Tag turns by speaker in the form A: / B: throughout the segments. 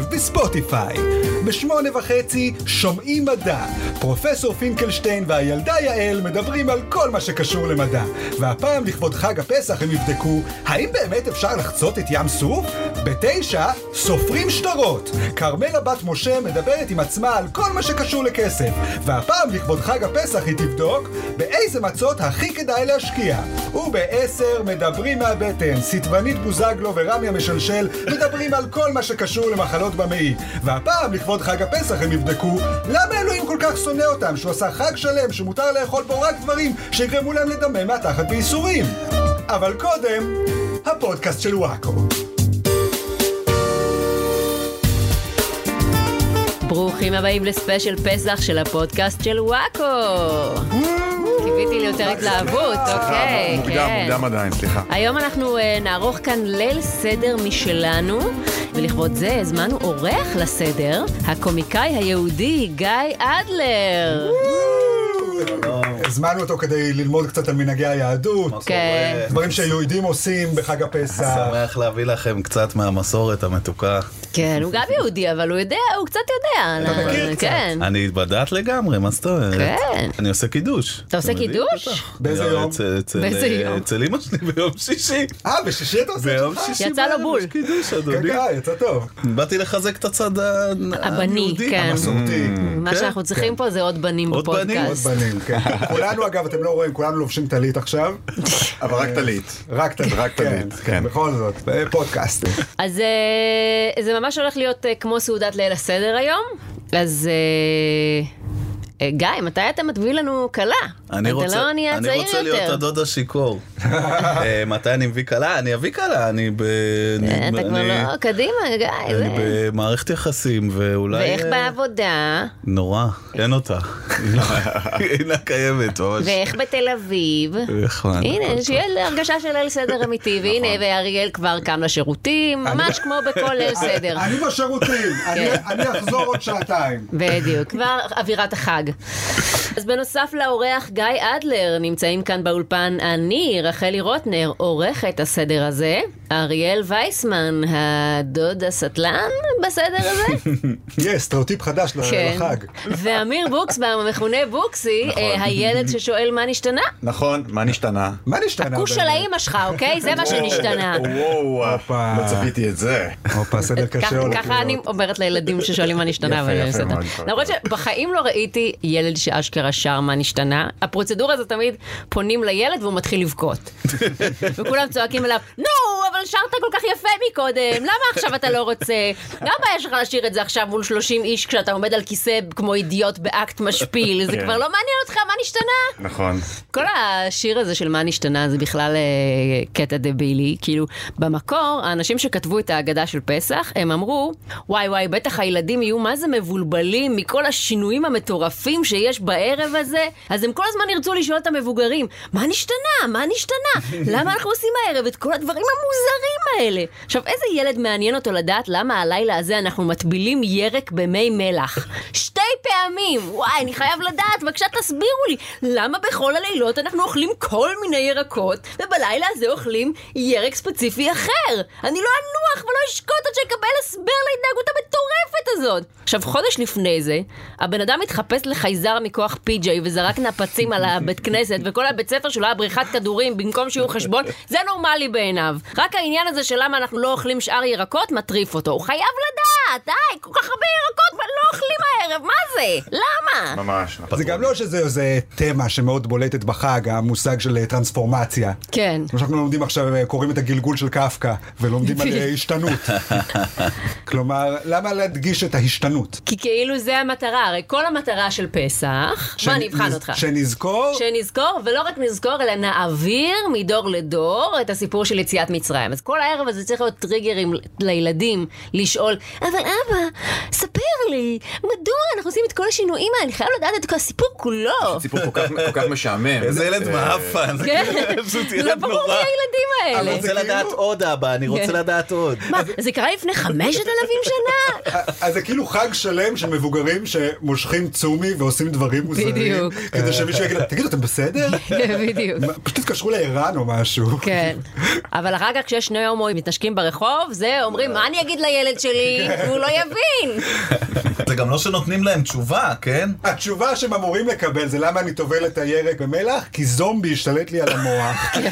A: בספוטיפיי. בשמונה וחצי שומעים מדע. פרופסור פינקלשטיין והילדה יעל מדברים על כל מה שקשור למדע. והפעם לכבוד חג הפסח הם יבדקו האם באמת אפשר לחצות את ים סוף? בתשע סופרים שטרות. כרמלה בת משה מדברת עם עצמה על כל מה שקשור לכסף. והפעם לכבוד חג הפסח היא תבדוק באיזה מצות הכי כדאי להשקיע. ובעשר מדברים מהבטן, סטבנית בוזגלו ורמי המשלשל מדברים על כל מה שקשור למחלות במעי. והפעם לכבוד חג הפסח הם יבדקו למה אלוהים כל כך שונא אותם שהוא עשה חג שלם שמותר לאכול בו רק דברים שיגרמו להם לדמם מהתחת בייסורים. אבל קודם, הפודקאסט של וואקו.
B: ברוכים הבאים לספיישל פסח של הפודקאסט של וואקו. קיוויתי ליותר התלהבות,
A: אה,
B: אוקיי,
C: מוקדם,
B: כן.
C: מוקדם עדיין, סליחה.
B: היום אנחנו אה, נערוך כאן ליל סדר משלנו, ולכבוד זה הזמנו אורח לסדר, הקומיקאי היהודי גיא אדלר.
A: הזמנו אותו כדי ללמוד קצת על מנהגי היהדות,
B: כן.
A: דברים שיהודים עושים בחג הפסח.
D: שמח להביא לכם קצת מהמסורת המתוקה.
B: כן, הוא גם יהודי, אבל הוא יודע, הוא קצת יודע.
A: אתה
B: לא,
A: מכיר קצת.
B: כן.
D: אני בדת לגמרי, מה זאת אומרת?
B: כן.
D: אני עושה קידוש.
B: אתה עושה
D: מבין?
B: קידוש?
D: בטח.
A: באיזה יום?
D: אצל- אצל- אה,
B: באיזה יום?
D: אצל אמא שלי ביום שישי.
A: אה, בשישי אתה עושה את
D: ביום
A: שלך?
D: שישי.
B: יצא לו
D: בערב
B: בול.
D: יש קידוש,
A: כן,
D: אדוני.
A: כן, יצא טוב.
D: באתי לחזק את הצד ה-
B: הבני,
D: היהודי.
B: כן.
A: מסורתי.
C: Mm.
B: מה
D: כן,
B: שאנחנו צריכים פה זה עוד בנים
D: עוד בנים,
A: עוד
B: בפודקאסט.
A: בנים, כן. כולנו, אגב, אתם לא רואים, כולנו לובשים טלית עכשיו.
C: אבל רק טלית.
A: רק טלית.
C: רק טלית, כן.
A: בכל זאת, אה, פודקאסט.
B: אז אה, זה ממש הולך להיות אה, כמו סעודת ליל הסדר היום, אז... אה, אה, גיא, מתי אתה מטביא לנו כלה?
D: אני רוצה,
B: אתה לא נהיה
D: אני
B: צעיר
D: רוצה
B: יותר.
D: להיות הדוד השיכור. אה, מתי אני מביא כלה? אני אביא כלה, אני ב... אני-
B: אה, אתה כבר
D: אני-
B: לא, קדימה, גיא.
D: אני
B: זה-
D: במערכת יחסים, ואולי...
B: ואיך
D: אה,
B: בעבודה,
D: נורא, אין אותה. היא לא- היא אינה קיימת, ממש.
B: ואיך בתל אביב.
D: איך מה, הכל
B: הנה, שיהיה הרגשה של ליל סדר אמיתי, והנה,
D: נכון.
B: ואריאל כבר קם לשירותים, ממש כמו בכל ליל סדר.
A: אה, אני בשירותים, אני-
B: כן.
A: אני אחזור עוד שעתיים.
B: בדיוק, כבר אווירת החג. אז בנוסף לאורח גיא אדלר, נמצאים כאן באולפן אני, רחלי רוטנר, עורכת הסדר הזה, אריאל וייסמן, הדוד הסטלן בסדר הזה,
A: יש, סטריאוטיפ
B: כן.
A: חדש לחג.
B: ואמיר בוקסבאום, המכונה בוקסי, אה, הילד ששואל מה נשתנה.
C: נכון, מה נשתנה?
A: מה נשתנה?
B: הכוש של
A: באמת?
B: האימא שלך, אוקיי? זה מה שנשתנה.
C: וואו,
A: הופה.
C: לא צפיתי את זה. כאילו.
A: הופה, סדר
B: ככה-
A: קשה הולך
B: ככה אני
A: להיות.
B: אומרת לילדים ששואלים מה נשתנה.
C: יפה,
B: ואני
C: יפה
B: עושה את
C: מאוד.
B: ה- למרות שבחיים לא ראיתי ילד שאשכרה שר מה נשתנה. הפרוצדורה זה תמיד פונים לילד והוא מתחיל לבכות. וכולם צועקים עליו, נו, אבל שרת כל כך יפה מקודם, למה עכשיו אתה לא רוצה? למה יש לך לשיר את זה עכשיו מול 30 איש כשאתה עומד על כיסא כמו אידיוט באקט משפיל? זה
C: כן.
B: כבר לא מעניין אותך מה נשתנה?
C: נכון.
B: כל השיר הזה של מה נשתנה זה בכלל אה, קטע דבילי, כאילו במקור האנשים שכתבו את ההגדה של פסח הם אמרו וואי וואי בטח הילדים יהיו מה זה מבולבלים מכל השינויים המטורפים שיש בערב הזה אז הם כל הזמן ירצו לשאול את המבוגרים מה נשתנה? מה נשתנה? למה אנחנו עושים הערב את כל הדברים המוזרים האלה? עכשיו איזה ילד מעניין אותו לדעת למה הלילה הזה אנחנו מטבילים ירק במי מלח? שתי פעמים! וואי, אני חייב לדעת, בבקשה תסבירו לי, למה בכל הלילות אנחנו אוכלים כל מיני ירקות, ובלילה הזה אוכלים ירק ספציפי אחר? אני לא אנוח ולא אשקוט עד שאקבל הסבר להתנהגות המטורפת הזאת! עכשיו, חודש לפני זה, הבן אדם התחפש לחייזר מכוח פי-ג'יי וזרק נפצים על הבית כנסת, וכל הבית ספר שלו היה בריכת כדורים במקום שיהיו חשבון, זה נורמלי בעיניו. רק העניין הזה של למה אנחנו לא אוכלים שאר ירקות מטריף אותו. הוא חייב לדעת! די, כל כך הרבה ירקות, מה לא אוכלים הערב? מה זה? למה?
C: ממש. נכון.
A: זה גם לא שזה איזה תמה שמאוד בולטת בחג, המושג של אה, טרנספורמציה.
B: כן.
A: כמו שאנחנו לומדים עכשיו, אה, קוראים את הגלגול של קפקא, ולומדים על אה, השתנות. כלומר, למה להדגיש את ההשתנות?
B: כי כאילו זה המטרה, הרי כל המטרה של פסח, בוא אני אבחן
A: שנז-
B: אותך.
A: שנזכור,
B: שנזכור, ולא רק נזכור, אלא נעביר מדור לדור את הסיפור של יציאת מצרים. אז כל הערב הזה צריך להיות טריגרים לילדים לשאול, אבל אבא, ספר לי, מדוע אנחנו עושים את כל השינויים האלה? אני חייב לדעת את כל הסיפור כולו.
C: סיפור כל כך- כל כך משעמם.
D: איזה ילד
C: אה,
D: מעפן. זה
B: כן,
D: פשוט
B: לא
D: ילד
B: ברור מי
D: נורא. כאילו-
B: הילדים
D: אני לא
B: האלה.
D: רוצה לדעת עוד אבא, אני רוצה
B: כן.
D: לדעת עוד.
B: מה, זה קרה לפני חמשת אלפים שנה?
A: אז זה כאילו חג שלם של מבוגרים שמושכים צומי ועושים דברים מוזרים,
B: בדיוק.
A: כדי שמישהו יגיד להם, תגידו, אתם בסדר?
B: בדיוק.
A: מה, פשוט התקשרו לערן או משהו.
B: כן, אבל אחר כך כשיש שני הומואים מתנשקים ברחוב, זה אומרים, מה אני אגיד לילד שלי?
E: הוא לא יבין.
D: זה גם לא שנותנים להם תשובה, כן?
A: התשובה שהם אמורים לקבל זה למה אני טובל את הירק במלח? כי זומבי השתלט לי על המוח,
B: כן.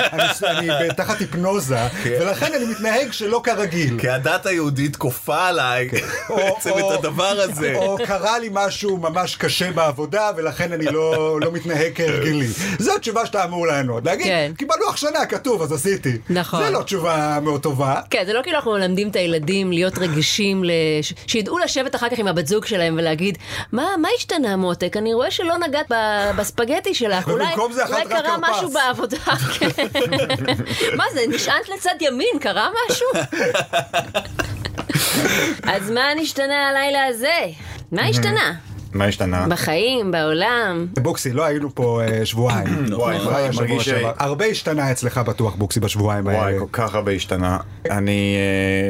A: אני- אני תחת היפנוזה, ולכן אני מתנהג שלא כרגיל.
D: כי הדת היהודית כופה עליי
A: או-
D: בעצם
A: או-
D: את הדבר הזה.
A: או קרה לי משהו ממש קשה בעבודה, ולכן אני לא לא מתנהג כהרגלי. זו התשובה שאתה אמור לענות.
B: כן.
A: להגיד, קיבלנו הכשנה, כתוב, אז עשיתי.
B: נכון.
A: זה לא תשובה מאוד טובה.
B: כן, זה לא כאילו אנחנו מלמדים את הילדים להיות רגישים, לש... שידעו לשבת אחר כך עם הבת זוג שלהם ולהגיד, מה, מה השתנה מותק? אני רואה שלא נגעת ב... בספגטי שלך, אולי,
A: ובמקום זה אכלת
B: אולי
A: רק
B: קרה
A: כרפס."
B: משהו בעבודה. כן. מה זה, נשענת לצד ימין, קרה משהו? אז מה נשתנה הלילה הזה? מה השתנה?
C: מה השתנה?
B: בחיים, בעולם?
A: בוקסי, לא היינו פה אה, שבועיים.
C: וואי,
A: כבר היה שבוע
C: נכון, מרגיש ש-
A: שעבר. הרבה השתנה אצלך בטוח, בוקסי, בשבועיים
C: וואי,
A: האלה.
C: כל כך הרבה השתנה. אני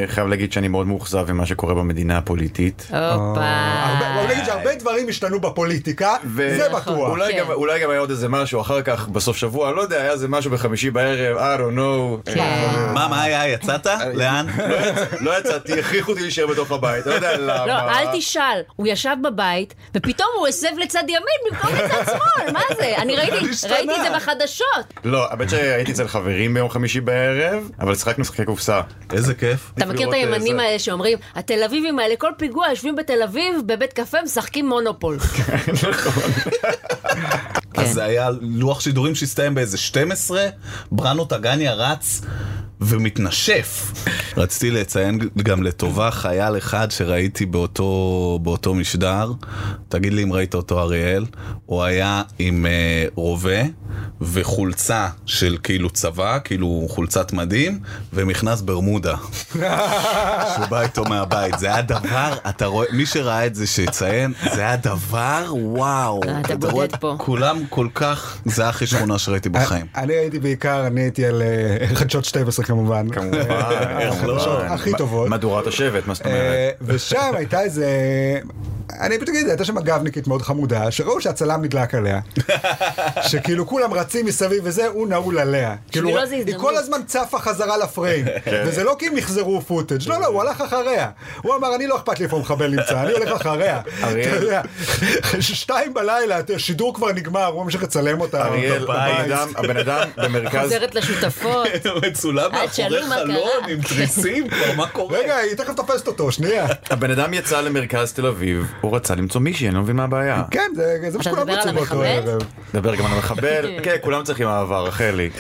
C: אה, חייב להגיד שאני מאוד מאוכזב ממה שקורה במדינה הפוליטית.
A: אה, הרבה-
B: הופה.
A: בוא נגיד שהרבה דברים השתנו בפוליטיקה,
C: ו-
A: זה בטוח.
C: אולי
B: כן.
C: גם- אולי גם היה עוד איזה משהו אחר כך בסוף שבוע, לא יודע, היה איזה משהו בחמישי בערב, I don't know. אה,
B: כן.
D: מה, מה היה? יצאת? לאן?
C: לא יצא- לא יצאתי, הכריחו אותי להישאר בתוך הבית, לא יודע למה.
B: לא, אל תשאל, הוא ישב בבית, ופתאום הוא הסב לצד ימין במקום לצד שמאל, מה זה? אני ראיתי ראיתי את זה בחדשות.
C: לא, האמת שהייתי אצל חברים ביום חמישי בערב, אבל שיחקנו משחקי קופסה.
D: איזה כיף.
B: אתה מכיר את
C: לראות, אה,
B: הימנים
C: זה.
B: האלה שאומרים, התל אביבים האלה, כל פיגוע יושבים בתל אביב, בבית קפה משחקים מונופול. כן.
D: אז זה היה לוח שידורים שהסתיים באיזה 12, בראנו טגניה רץ ומתנשף. רציתי לציין גם לטובה חייל אחד שראיתי באותו, באותו משדר, תגיד לי אם ראית אותו אריאל, הוא היה עם אה, רובה וחולצה של כאילו צבא, כאילו חולצת מדים, ומכנס ברמודה. שהוא בא איתו מהבית, זה היה דבר, אתה רואה, מי שראה את זה שיציין, זה היה דבר, וואו.
B: אה, אתה
D: רואה,
B: בודד פה.
D: כולם כל כך, זה הכי שכונה שראיתי בחיים.
A: אני הייתי בעיקר, אני הייתי על אה, חדשות 12 כמובן. אה,
C: כמובן,
D: איך לא?
A: הכי טובות.
C: מהדורת השבט, מה זאת
A: אה,
C: אומרת?
A: ושם הייתה איזה... אני פשוט אגיד, הייתה שם גבניקית מאוד חמודה, שראו שהצלם נדלק עליה. שכאילו כולם רצים מסביב וזה, הוא נעול עליה. כאילו,
B: בשבילו לא זה
A: היא
B: הזדמנות.
A: כל הזמן צפה חזרה לפריים.
C: כן.
A: וזה לא כי הם מחזרו פוטאג', לא, לא, הוא הלך אחריה. הוא אמר, אני לא אכפת לי איפה המחבל נמצא, אני הולך אחריה.
C: אריאל.
A: אתה יודע, שתיים בלילה, השידור כבר נגמר, הוא ממשיך לצלם אותה.
C: אריאל,
A: אה, בבית.
C: הבן אדם- הבן אדם במרכז...
B: חוזרת לשותפות.
D: מצולם
B: אה, תשאלו
D: מאחורי
B: מה קרה.
D: חלון עם תריסים, כבר מה קורה?
A: רגע, היא תכף תופסת אותו, שנייה.
C: הבן אדם יצא למרכז תל אביב, הוא רצה למצוא מישהי, אני לא מבין מה הבעיה.
A: כן, זה זה מה
B: אתה
A: שכולם אה,
B: מדבר על
A: רצו באותו
B: המחבל?
A: ערב.
C: דבר גם על המחבל, כן, כולם צריכים אהבה, רחלי.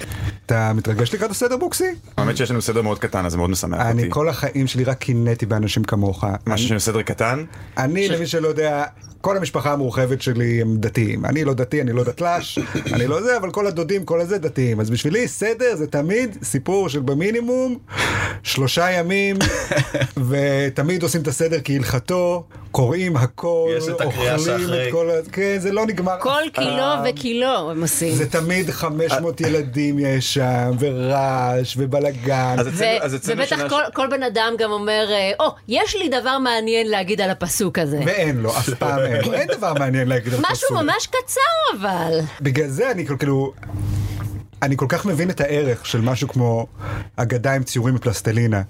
A: אתה מתרגש לקראת הסדר בוקסי?
C: האמת שיש לנו סדר מאוד קטן, אז זה מאוד משמח
A: אני
C: אותי.
A: כל החיים שלי רק קינאתי באנשים כמוך.
C: משהו שיש לנו סדר קטן?
A: אני, למי שלא יודע, כל המשפחה המורחבת שלי הם דתיים. אני לא דתי, אני לא דתל"ש, אני לא זה, אבל כל הדודים, כל הזה דתיים. אז בשבילי סדר זה תמיד סיפור של במינימום שלושה ימים, ותמיד עושים את הסדר כהלכתו, קוראים הכל,
D: יש את הקריאה
A: אוכלים
D: שאחרי. אה.
A: את כל ה... כן, זה לא נגמר.
B: כל קילו
C: אה,
B: וקילו הם עושים.
A: זה תמיד 500 ילדים יש שם, ורעש, ובלאגן.
C: אז אצלנו-
B: ו-
C: אז אצלנו
B: ובטח
C: שנה-
B: כל- כל בן אדם גם אומר, אה, או, יש לי דבר מעניין להגיד על הפסוק הזה.
A: ואין לו, אף פעם אין לו. אין דבר מעניין להגיד על
B: כן. משהו
A: פרסום.
B: ממש קצר אבל.
A: בגלל זה אני כל- כאילו... אני כל כך מבין את הערך של משהו כמו אגדה עם ציורים מפלסטלינה,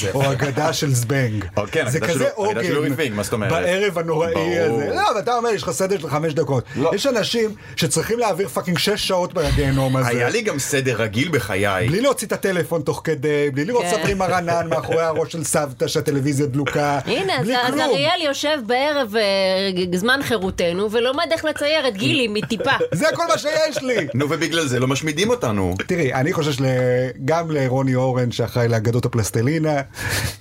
D: זה
A: או אגדה של זבנג.
C: אה, או כן,
A: זה
C: אגדה של-
A: כזה
C: אגדה של אורי פינק, מה זאת אומרת?
A: בערב הנוראי
C: ברור.
A: הזה. לא, אבל אתה אומר, יש לך סדר של חמש דקות.
C: לא.
A: יש אנשים שצריכים להעביר פאקינג שש שעות בגיהנום הזה.
C: היה לי גם סדר רגיל בחיי.
A: בלי להוציא את הטלפון תוך כדי, בלי לראות
B: כן.
A: ספרים הרנן מאחורי הראש של סבתא שהטלוויזיה דלוקה.
B: הנה, אז,
A: בלי
B: אז
A: כלום.
B: אריאל יושב בערב אה, ג- זמן חירותנו ולומד איך לצייר את גילי מטיפה.
A: זה כל מה שיש לי.
C: נו, ובגלל זה לא משמידים אותנו.
A: תראי, אני חושב של... גם לרוני אורן שאחראי לאגדות הפלסטלינה,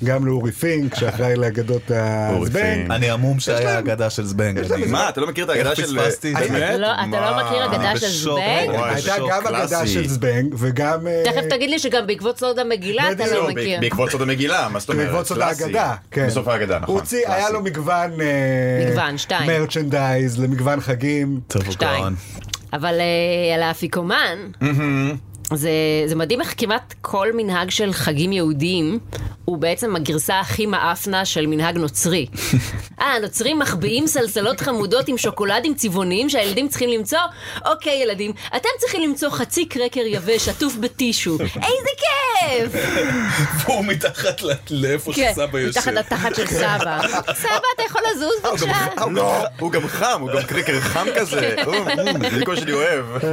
A: גם לאורי פינק שאחראי לאגדות
C: אורי
A: הזבנג.
C: פינק.
D: אני המום שהיה
A: להם-
D: אגדה של זבנג.
A: יש להם
D: אני-
A: איזה-
C: מה, אתה לא מכיר את האגדה
D: איך
C: של...
D: פספסתי את זה?
C: באמת?
B: אתה לא- אתה לא
C: מה?
B: מכיר אגדה
D: אני
B: של
D: בשוק.
B: זבנג?
D: וואי,
A: הייתה
D: זה שוק
A: גם אגדה
C: קלאסי.
A: של זבנג וגם... אה,
B: תכף תגיד לי שגם בעקבות סוד המגילה אתה
A: בדיוק,
B: לא
C: לא,
B: מכיר.
C: ב- בעקבות סוד המגילה, מה זאת אומרת?
A: בעקבות סוד
C: קלאסי.
A: האגדה, כן.
C: בסוף ההגדה, נכון.
A: הוא הוציא, היה
C: קלאסי.
A: לו מגוון... אה,
B: מגוון, שתיים.
A: מרצ'נדייז, למגוון חגים.
D: טוב, הוא
B: שתיים.
D: גאון.
B: אבל אה, על האפיקומן, זה, זה מדהים איך כמעט כל מנהג של חגים יהודיים הוא בעצם הגרסה הכי מאפנה של מנהג נוצרי. אה, הנוצרים מחביאים סלסלות חמודות עם שוקולדים צבעוניים שהילדים צריכים למצוא? אוקיי, ילדים, אתם צריכים למצוא חצי קרקר יבש עטוף בטישו. איזה כיף!
D: והוא מתחת ל- לאיפה
B: כן,
D: שסבא יושב.
B: מתחת לתחת של סבא. סבא, אתה יכול לזוז
C: הוא גם-
B: בבקשה?
C: הוא גם- לא, הוא גם חם, הוא גם קריקר חם כזה. הוא- הוא, זה כל שאני אוהב.
B: אה,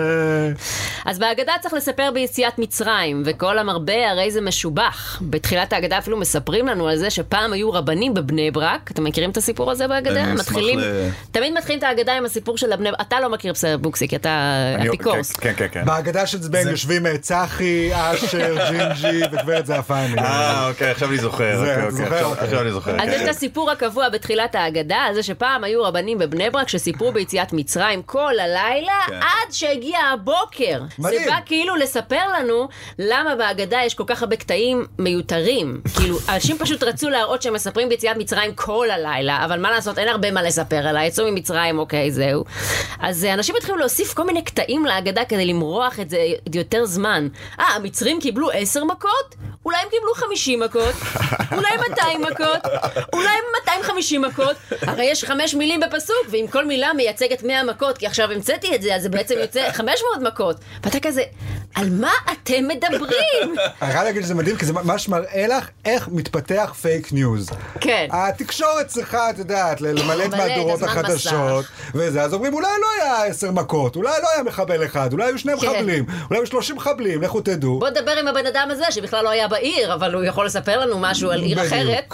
B: אז בהגדה צריך לספר ביציאת מצרים, וכל המרבה הרי זה משובח. בתחילת ההגדה אפילו מספרים לנו על זה שפעם היו רבנים בבני ברק. אתם מכירים את הסיפור הזה בהגדה?
D: אני אשמח
B: מתחילים,
D: ל-
B: תמיד מתחילים את ההגדה עם הסיפור של הבני... אתה לא מכיר בסדר בוקסי, כי אתה
C: אני-
B: אפיקורס.
C: כן, כן, כן.
A: בהגדה של זבנג יושבים אה, צחי, אשר, ג'ינג'י וגברת זעפני.
C: אה, אוקיי, עכשיו אני זוכר.
A: זה,
C: אוקיי,
A: אתה
C: אוקיי,
A: זוכר?
C: עכשיו-
A: אוקיי.
C: עכשיו אני זוכר.
B: אז
C: כן.
B: יש את הסיפור הקבוע בתחילת ההגדה, על זה שפעם היו רבנים בבני ברק שסיפרו ביציאת מצרים כל הלילה,
D: כן.
B: עד שהגיע הבוקר.
A: מדהים.
B: זה בא כאילו לספר לנו למה בהגדה יש כל כך הרבה קטעים מיותרים. כאילו, אנשים פשוט רצו להראות שהם מספרים ביציאת מצרים כל הלילה, אבל מה לעשות, אין הרבה מה לספר עליה, יצאו ממצרים, אוקיי, זהו. אז אה, אנשים התחילו להוסיף כל מיני קטעים להגדה כדי למרוח את זה יותר זמן. אה, המצרים קיבלו עשר מכות? אולי הם קיבלו 50 מכות, אולי 200 מכות, אולי 250 מכות. הרי יש חמש מילים בפסוק, ואם כל מילה מייצגת 100 מכות, כי עכשיו המצאתי את זה, אז זה בעצם יוצא 500 מכות. ואתה כזה, על מה אתם מדברים?
A: אני חייב להגיד שזה מדהים, כי זה ממש מראה לך איך מתפתח פייק ניוז.
B: כן.
A: התקשורת צריכה, את יודעת, ל- למלא את
B: למלא את
A: מהדורות
B: הזמן
A: החדשות, וזה, אז אומרים, אולי לא היה עשר מכות, אולי לא היה מחבל אחד, אולי היו שני
B: כן.
A: מחבלים, אולי היו שלושים מחבלים, לכו תדעו.
B: בוא נדבר עם הבן אדם הזה, שבכלל לא היה בעיר, אבל הוא יכול לספר לנו משהו על עיר
A: בדיוק.
B: אחרת.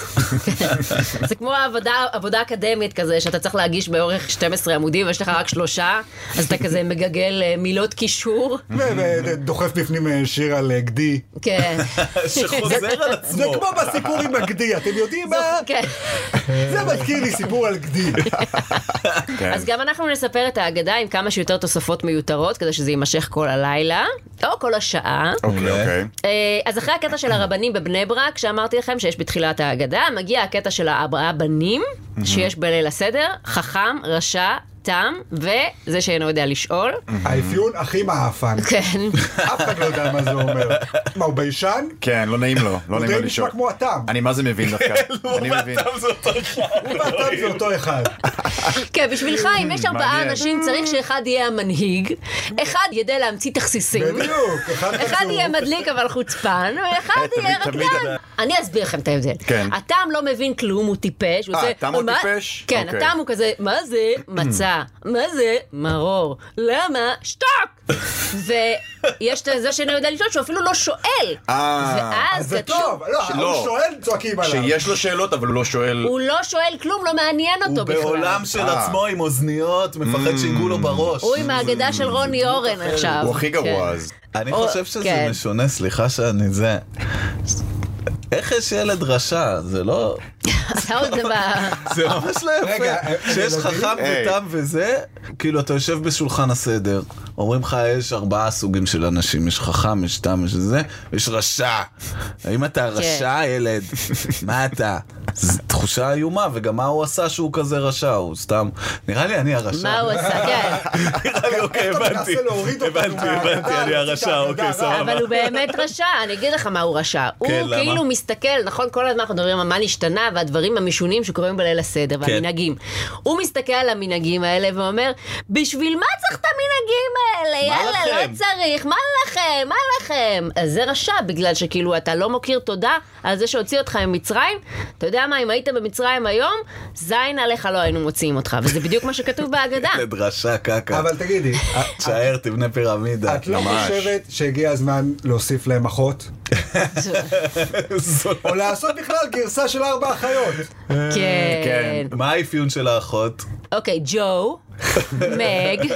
B: זה כמו העבודה, עבודה אקדמית כזה, שאתה צריך להגיש באורך 12 עמודים, ויש לך רק שלושה, אז אתה כזה מגגל אה, מילות קישור.
A: ודוחף בפנים אה, שיר על אה, גדי.
B: כן.
D: שחוזר על עצמו.
A: זה כמו בסיפור עם הגדי, אתם יודעים מה?
B: כן.
A: זה מזכיר לי סיפור על גדי.
C: כן.
B: אז גם אנחנו נספר את ההגדה עם כמה שיותר תוספות מיותרות, כדי שזה יימשך כל הלילה, או כל השעה.
C: אוקיי, אוקיי.
B: אה, אז אחרי הקטע של הרבנים בבני ברק, שאמרתי לכם שיש בתחילת ההגדה, מגיע הקטע של הרבנים, שיש בליל הסדר, חכם, רשע, תם, וזה שאינו יודע לשאול.
C: אה.
A: האפיון הכי מעפן.
B: כן.
A: אף אחד לא יודע מה זה אומר. מה, הוא ביישן?
C: כן, לא נעים לו, לא
A: הוא
C: נעים לו
A: די
C: לשאול.
A: נשמע כמו הטעם.
C: אני מה זה מבין דווקא. אני מבין.
D: ואתה זה אותו אחד.
A: הוא והטעם זה אותו אחד.
B: כן, בשבילך, אם יש ארבעה
C: מעניין.
B: אנשים, צריך שאחד יהיה המנהיג, אחד ידע להמציא תכסיסים.
A: בדיוק, אחד
B: אחד
A: חצוף.
B: יהיה מדליק אבל חוצפן, ואחד
C: תמיד-
B: יהיה
C: אה, תמיד
B: רקדן. אני אסביר לכם את ההבדל.
C: כן.
B: הטעם לא מבין כלום, הוא טיפש. הוא
C: אה,
B: עושה,
C: הטעם הוא
B: "מה-"
C: טיפש?
B: כן,
C: אוקיי.
B: הטעם הוא כזה, מה זה מצה? מה זה מרור? למה? שתוק! ויש את זה שאני יודע לשאול, שהוא אפילו לא שואל.
C: אה,
A: אז
B: ואז
A: זה
B: כתוב...
A: טוב, לא,
C: לא.
A: הוא שואל, צועקים עליו.
C: שיש לו שאלות, אבל הוא לא שואל.
B: אה. הוא לא שואל כלום, לא מעניין אותו
D: הוא
B: בכלל.
D: בעולם של
C: אה.
D: עצמו עם אוזניות, מפחד שיגעו לו בראש.
B: הוא עם האגדה של רוני אורן עכשיו.
C: הוא הכי
B: כן.
C: גרוע אז.
D: אני
B: או-
D: חושב שזה
B: כן.
D: משונה, סליחה שאני זה. איך יש ילד רשע? זה לא...
B: אתה עוד ב-
D: זה ממש לא
A: רגע, אה,
D: יפה. שיש
A: ילדים?
D: חכם
C: היי.
D: ותם וזה, כאילו אתה יושב בשולחן הסדר, אומרים לך יש ארבעה סוגים של אנשים, יש חכם, יש תם, יש זה, יש רשע. האם אתה
B: כן.
D: רשע, ילד? מה אתה? זו תחושה איומה, וגם מה הוא עשה שהוא כזה רשע? הוא סתם... נראה לי אני הרשע.
B: מה הוא עשה? כן.
D: נראה לי, אוקיי,
A: איך אתה
D: הבנתי.
A: מנסה להוריד אותנו
D: הבנתי,
A: מהגדה,
D: הבנתי, אני
A: להוציא את
D: הרשע,
A: ההגדה,
D: אוקיי,
A: לא,
D: סבבה.
B: אבל הוא באמת רשע, אני אגיד לך מה הוא רשע. הוא
D: למה?
B: כאילו מסתכל, נכון, כל הזמן אנחנו מדברים על מה נשתנה והדברים המשונים שקורים בליל הסדר והמנהגים. הוא מסתכל על המנהגים האלה ואומר, בשביל מה צריך את המנהגים האלה?
D: מה
B: יאללה,
D: לכם?"
B: לא צריך, מה לכם? מה לכם? אז זה רשע, בגלל שכאילו אתה לא מוקיר תודה על זה שהוציא אותך ממצרים. אתה יודע מה, אם הייתם במצרים היום, זין עליך לא היינו מוציאים אותך, וזה בדיוק מה שכתוב בהגדה.
D: ילד רשע קקה.
A: אבל תגידי,
D: תשאר, תבנה פירמידה.
A: את לא
C: ממש.
A: חושבת שהגיע הזמן להוסיף להם אחות? או לעשות בכלל גרסה של ארבע אחיות?
B: כן.
D: מה האפיון של האחות?
B: אוקיי, ג'ו, מג,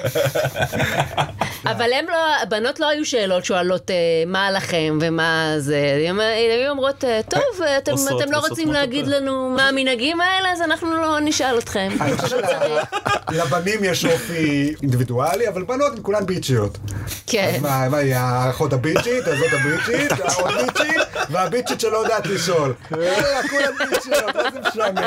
B: אבל הם לא, הבנות לא היו שאלות שואלות אה, מה לכם ומה זה, הם היו אומרות, אה, טוב, אה, אתם
D: עושות-
B: אתם לא
D: עושות
B: רוצים
D: מה
B: להגיד
D: שאתה-
B: לנו מה המנהגים האלה, אז אנחנו לא נשאל אתכם. אה,
A: אני חושב שלבנים יש אופי אינדיבידואלי, אבל בנות הן כולן ביצ'יות.
B: כן.
A: אז מה, מה היא האחות הביצ'ית, הזאת הביצ'ית, האחות ביצ'ית, והביצ'ית שלא יודעת לשאול. יאללה, כולם ביצ'יות, איזה משנה.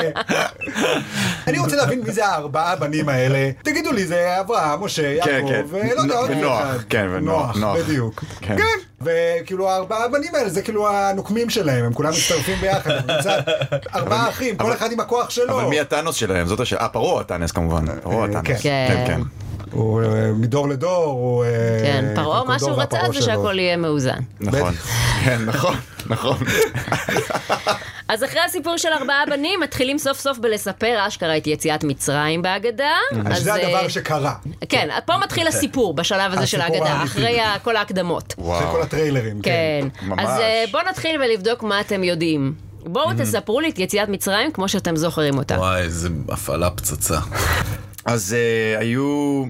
A: אני רוצה להבין מי זה הארבעה הבנים האלה. תגידו לי, זה אברהם, משה,
C: כן,
A: יעקב,
C: כן.
A: ולא יודע, עוד
C: ונוח,
A: אחד.
C: כן, ונוח, נוח.
A: בדיוק.
C: כן.
A: כן. וכאילו הארבעה הבנים האלה, זה כאילו הנוקמים שלהם, הם כולם מצטרפים ביחד, הם קבוצת ארבעה אחים, כל אחד עם הכוח שלו. אה,
C: אבל מי הטאנוס שלהם? זאת השאלה. אה, פרעה הטאנס כמובן. פרעה הטאנוס.
A: כן.
B: כן.
A: הוא אה, מדור לדור, הוא... אה,
B: כן, פרעה, מה
A: קונקורדו
B: שהוא רצה
A: והפרעה
B: זה
A: שלו.
B: שהכל יהיה מאוזן.
C: נכון.
A: בטח.
C: כן, נכון, נכון.
B: אז אחרי הסיפור של ארבעה בנים, מתחילים סוף סוף בלספר אשכרה את יציאת מצרים בהגדה.
A: אז
B: אז,
A: זה
B: אה,
A: הדבר שקרה,
B: כן, פה מתחיל הסיפור בשלב הזה של
A: הסיפור
B: ההגדה,
A: האמיתי.
B: אחרי ה- כל ההקדמות.
A: אחרי כל
C: וואו.
A: הטריילרים.
B: כן.
C: ממש.
B: אז אה, בואו נתחיל ולבדוק מה אתם יודעים. בואו תספרו לי את יציאת מצרים כמו שאתם זוכרים אותה.
D: וואי, איזה הפעלה פצצה.
C: אז אה, היו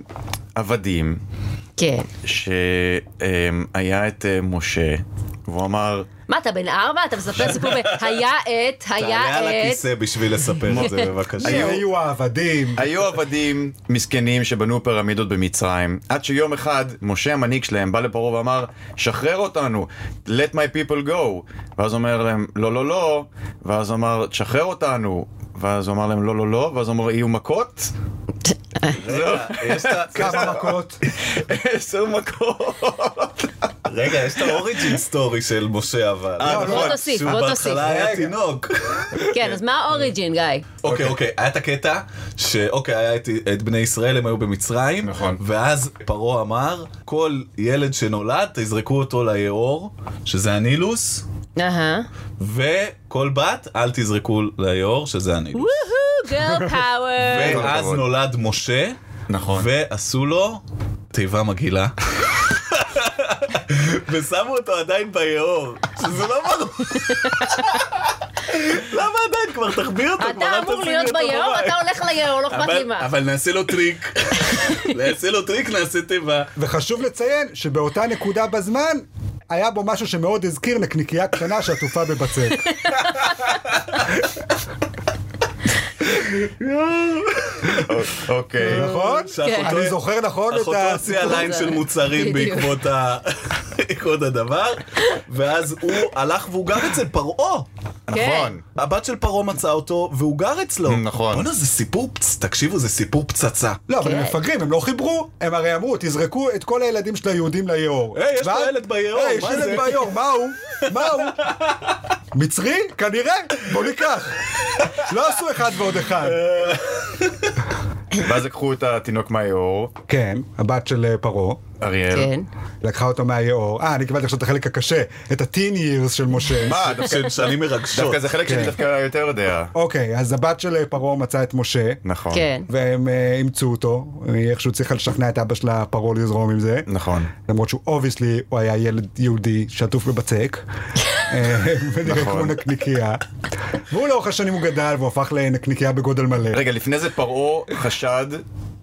C: עבדים,
B: כן.
C: שהיה את אה, משה, והוא אמר,
B: מה, אתה בן ארבע? אתה מספר סיפור ב... היה את,
D: תעלה על
B: היה את...
D: הכיסא בשביל לספר את זה בבקשה.
A: היו היו העבדים,
C: היו עבדים מסכנים שבנו פירמידות במצרים, עד שיום אחד משה המנהיג שלהם בא לפרעה ואמר, שחרר אותנו, let my people go. ואז הוא אומר להם, לא, לא, לא, ואז הוא אמר, תשחרר אותנו. ואז הוא אמר להם, לא, לא, לא, ואז הוא אמר, יהיו מכות?
D: רגע, לא, יש את ה-
A: כמה מכות.
C: עשר מכות.
D: רגע, יש את האוריג'ין סטורי של משה אבל.
C: אה,
B: בוא
C: נכון,
B: תוסיף,
D: שהוא
B: בוא תוסיף.
D: בהתחלה היה
A: לא, רגע.
D: תינוק.
B: כן, אז מה האוריג'ין, גיא?
D: אוקיי, אוקיי, היה את הקטע שאוקיי, היה את, את בני ישראל, הם היו במצרים,
C: נכון.
D: ואז פרעה אמר, כל ילד שנולד, תזרקו אותו ליאור, שזה הנילוס,
B: אהה.
D: וכל בת, אל תזרקו ליאור, שזה הנילוס.
B: וואו, גרל פאוור.
D: ואז
C: הכבוד.
D: נולד משה,
C: נכון.
D: ועשו לו תיבה מגעילה. ושמו אותו עדיין ביאור, שזה לא ברור. למה עדיין? כבר תחביא אותו, כבר
B: אתה
D: אל
B: אמור
D: תשים
B: להיות
D: אותו
B: ביאור,
D: בבית.
B: אתה הולך ליאור, לא אכפת לי
D: אבל,
B: מה.
D: אבל נעשה לו טריק, נעשה לו טריק, נעשה תיבה.
A: וחשוב לציין שבאותה נקודה בזמן, היה בו משהו שמאוד הזכיר נקניקייה קטנה שעטופה בבצק.
C: אוקיי.
A: נכון?
D: שאחותו-
A: אני זוכר נכון את
D: אחותו הוציאה
A: הסיפור.
D: ליין
B: הזה.
D: של מוצרים
B: בדיוק.
D: בעקבות ה- בעקבות הדבר, ואז הוא הלך והוא גר אצל פרעה.
C: נכון.
D: הבת של פרעה מצאה אותו והוא גר אצלו.
C: נכון.
D: בואנה זה סיפור, פצ- תקשיבו זה סיפור פצצה.
A: לא, אבל
B: כן.
A: הם מפגרים, הם לא חיברו, הם הרי אמרו, תזרקו את כל הילדים של היהודים ליאור.
D: היי, יש לו
A: ואז-
D: ילד ביאור,
A: היי, יש
D: מה זה?
A: ילד ביאור, מה הוא? מה הוא? מצרי? כנראה, בוא ניקח. לא עשו אחד ועוד אחד.
D: אה.
C: ואז לקחו את התינוק מהיאור,
A: כן, הבת של אה, פרעה.
C: אריאל.
B: כן.
A: לקחה אותו מהיאור. אה, אני קיבלתי עכשיו את החלק הקשה, את הטין יירס של משה.
C: מה, אה, דווקא-
D: של שנים כן, מרגשות.
C: דווקא זה חלק
A: כן.
C: שאני דווקא יותר יודע.
A: אוקיי, אז הבת של אה, פרעה מצאה את משה,
C: נכון.
B: כן.
A: והם אה, אימצו אותו, היא איכשהו צריכה לשכנע את אבא שלה, פרעה, לזרום עם זה.
C: נכון.
A: למרות שהוא אובייסלי, הוא היה ילד יהודי שעטוף בבצק, אה, ונראה
C: נכון.
A: כמו נקניקייה. והוא לאורך השנים הוא גדל והוא הפך לנקניקייה בגודל מלא.
C: רגע, לפני זה פרעה חשד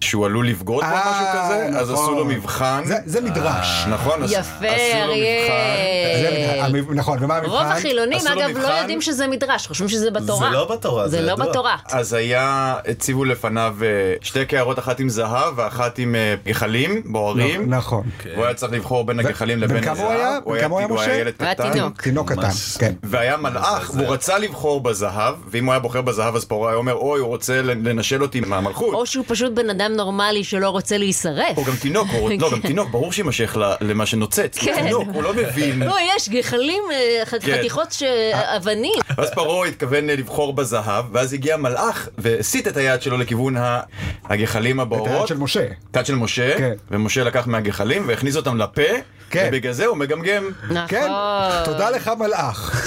C: שהוא עלול לבגוד או
A: אה,
C: משהו כזה, אז
A: נכון.
C: עשו לו מבחן.
A: זה- זה מדרש.
C: נכון, אז
B: יפה,
C: עשו לו מבחן.
A: זה המד-
B: אריאל.
A: המב- נכון, ומה המבחן?
B: רוב החילונים,
C: עשו לו
B: אגב, לא
C: מבחן?
B: יודעים שזה מדרש, חושבים שזה בתורה.
D: זה לא בתורה,
B: זה
D: זה
B: לא
D: ידוע.
B: בתורה.
C: אז היה, הציבו לפניו אה, שתי קערות, אחת עם זהב ואחת עם אה, גחלים בוערים.
A: נכון.
C: והוא היה צריך לבחור בין הגחלים
A: בן
C: לבין
A: כמה
C: הזהב.
A: הוא היה? בן כמה הוא היה,
C: הוא היה
A: משה?
C: ילד
B: הוא היה
C: קטן.
B: תינוק.
A: תינוק קטן,
D: ממש.
A: כן.
C: והיה מלאך,
D: מזעזע.
C: והוא רצה לבחור בזהב, ואם הוא היה בוחר בזהב אז פרעה היה אומר, אוי, הוא רוצה לנשל אותי מהמלכות.
B: או שהוא פשוט בן אדם נורמלי שלא רוצה להישרף.
C: הוא גם תינוק, הוא לא, גם תינוק, ברור שיימשך ל- למה שנוצץ.
B: כן.
C: תינוק, הוא לא מבין.
B: לא, יש גחלים, אה, ח-
C: כן.
B: חתיכות ש- אבנים.
C: ואז פרעה התכוון לבחור בזהב, ואז הגיע מלאך והסיט את היד שלו לכיוון ה- הגחלים
A: את היד
C: הבוערות.
A: של משה.
C: את היד של משה,
A: כן.
C: ומשה לקח מהגחלים והכניס אותם לפה,
A: כן.
C: ובגלל זה הוא מגמגם.
A: כן,
B: נכון.
A: תודה לך מלאך.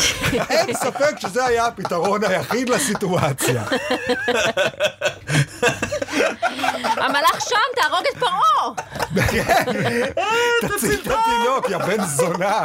A: אין ספק שזה היה הפתרון היחיד לסיטואציה.
B: המלאך שם, תהרוג את פרעה!
A: תציל את התינוק, יא בן זונה.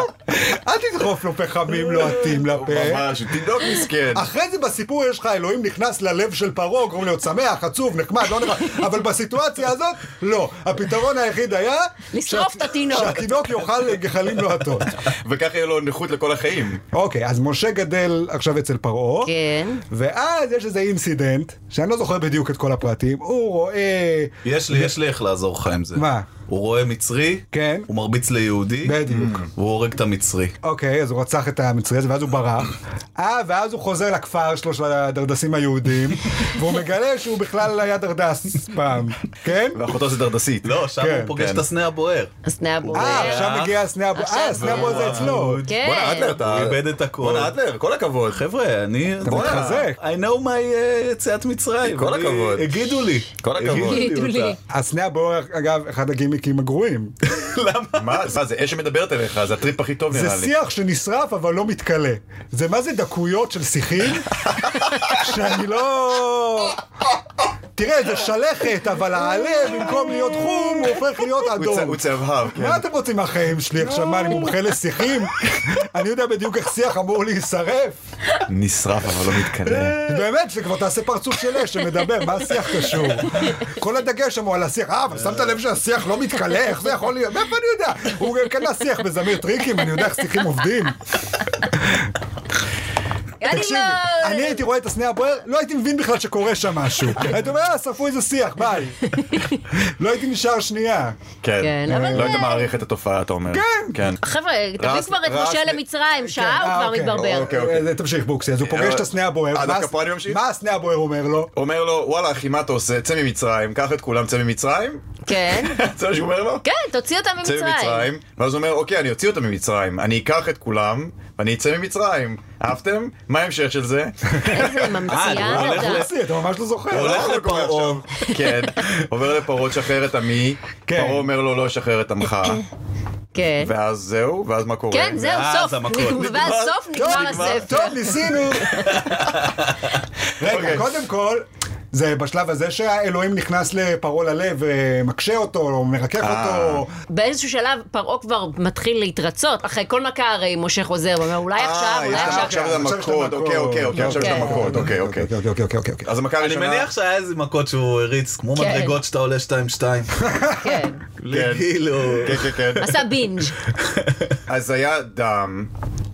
A: אל תדחוף לו פחמים לוהטים לפה.
C: ממש, תינוק מסכן.
A: אחרי זה בסיפור יש לך, אלוהים נכנס ללב של פרעה, קוראים לו שמח, עצוב, נחמד, לא נחמד, אבל בסיטואציה הזאת, לא. הפתרון היחיד היה...
B: לשרוף
A: שה-
B: את התינוק.
A: שהתינוק יאכל גחלים לוהטות.
C: וככה יהיה לו נכות לכל החיים.
A: אוקיי, אז משה גדל עכשיו אצל פרעה.
B: כן.
A: ואז יש איזה אינסידנט, שאני לא זוכר בדיוק את כל הפרטים, הוא רואה...
D: יש לי, יש לי איך לעזור לך עם זה.
A: מה?
D: הוא רואה מצרי,
A: כן.
D: הוא מרביץ ליהודי,
A: בדיוק.
D: והוא הורג את המצרי.
A: אוקיי, אז הוא רצח את המצרי הזה, ואז הוא ברח. אה, ואז הוא חוזר לכפר שלו של הדרדסים היהודים, והוא מגלה שהוא בכלל היה דרדס פעם, כן?
C: ואחותו זה דרדסית.
D: לא, שם
A: כן,
D: הוא פוגש
C: כן.
D: את הסנה הבוער.
B: הסנה הבוער.
A: אה, עכשיו מגיע הסנה הבוער, אה, הסנה הבוער זה אצלו.
B: כן.
C: בואנה אדלר, אתה...
D: הוא איבד את הכל.
C: בואנה אדלר, כל הכבוד.
D: חבר'ה, אני...
A: אתה מתחזק.
D: I know my אה, יציאת מצרים.
C: כל
D: אני-
C: הכבוד.
D: הגידו לי.
C: כל הכבוד.
B: הגידו לי.
D: אותה.
A: הסנה הבוער, אגב, אחד הגימיקים הגרועים.
D: למה?
C: מה מה זה אש שמדברת אליך, זה הטריפ הכי טוב
A: זה
C: נראה לי.
A: שיח שנשרף אבל לא מתכלה. זה מה זה דקויות של שיחים? שאני לא... תראה, זה שלכת, אבל העלה במקום להיות חום, הוא הופך להיות
C: הוא צ-
A: אדום.
C: הוא צהבהב, כן.
A: מה אתם רוצים מהחיים שלי עכשיו? מה, אני מומחה לשיחים? אני יודע בדיוק איך שיח אמור להישרף.
C: נשרף אבל לא
D: אה,
C: מתקדם.
A: באמת, שכבר תעשה פרצוף של אש שמדבר, מה השיח קשור? כל הדגש שם הוא על השיח, אה, אבל שמת לב שהשיח לא מתכלה, איך זה יכול להיות? מאיפה אני יודע? הוא גם קנה שיח בזמיר טריקים, אני יודע איך שיחים עובדים.
B: אני
A: תקשיבי,
B: לא-
A: אני הייתי רואה את הסנה הבוער, לא הייתי מבין בכלל שקורה שם משהו. הייתי אומר, אה, שרפו איזה שיח, ביי. לא הייתי נשאר שנייה.
C: כן.
B: כן, אבל
C: לא היית
B: זה-
C: מעריך את התופעה, אתה אומר.
A: כן.
C: כן.
B: חבר'ה, תביא
C: רז-
B: כבר את
C: רז-
B: משה למצרים, שעה
A: אה,
B: הוא כבר
A: אוקיי.
B: מתברבר.
C: אוקיי, אוקיי.
A: אה, תמשיך בוקסי, אז הוא פוגש את הסנה הבוער. מה-
C: אה, דווקא פה אני ממשיך?
A: מה הסנה הבוער אומר לו?
C: אומר לו, וואלה אחי, מה אתה עושה? צא ממצרים, קח את כולם, צא ממצרים.
B: כן,
C: זה מה שהוא אומר לו?
B: כן, תוציא אותם
C: צא
B: ממצרים.
C: ממצרים, ואז הוא אומר, אוקיי, אני אוציא אותם ממצרים, אני אקח את כולם, ואני אצא ממצרים. אהבתם? מה ההמשך של זה?
B: איזה
D: אה,
B: ממציאה
D: הוא
B: אתה.
D: הולך ל-
A: בוקסי, אתה ממש לא זוכר.
D: הולך
A: אה?
C: מה קורה
D: לפרעה.
C: עכשיו? כן, עובר לפרעה, תשחרר את עמי,
A: כן.
C: פרעה אומר לו, לא אשחרר את עמך,
B: כן.
C: ואז זהו, ואז מה קורה?
B: כן, זהו,
D: ואז
B: סוף.
D: המכות.
B: נגמר- ואז
C: נגמר.
B: סוף
A: טוב,
B: נגמר
A: נגמר.
B: הספר.
A: טוב, ניסינו. רגע,
C: אוקיי.
A: קודם כל... זה בשלב הזה שהאלוהים נכנס לפרעה ללב ומקשה אותו, או מרכך
C: אה.
A: אותו.
B: באיזשהו שלב פרעה כבר מתחיל להתרצות. אחרי כל מכה הרי משה חוזר ואומר, אולי עכשיו,
C: אה,
B: אולי
C: יש לה
B: עכשיו.
C: עכשיו את
A: עכשיו יש את
C: המכות, אוקיי, אוקיי, אוקיי, עכשיו יש את
B: אוקיי.
C: המכות, אוקיי, אוקיי.
A: אוקיי, אוקיי, אוקיי, אוקיי.
C: אז המכה
D: אני
C: הראשונה...
D: מניח שהיה איזה מכות שהוא הריץ, כמו
B: כן.
D: מדרגות שאתה עולה 2-2.
B: כן.
C: כן.
D: כאילו...
C: כן, כן, כן.
B: עשה בינג'.
C: אז היה דם,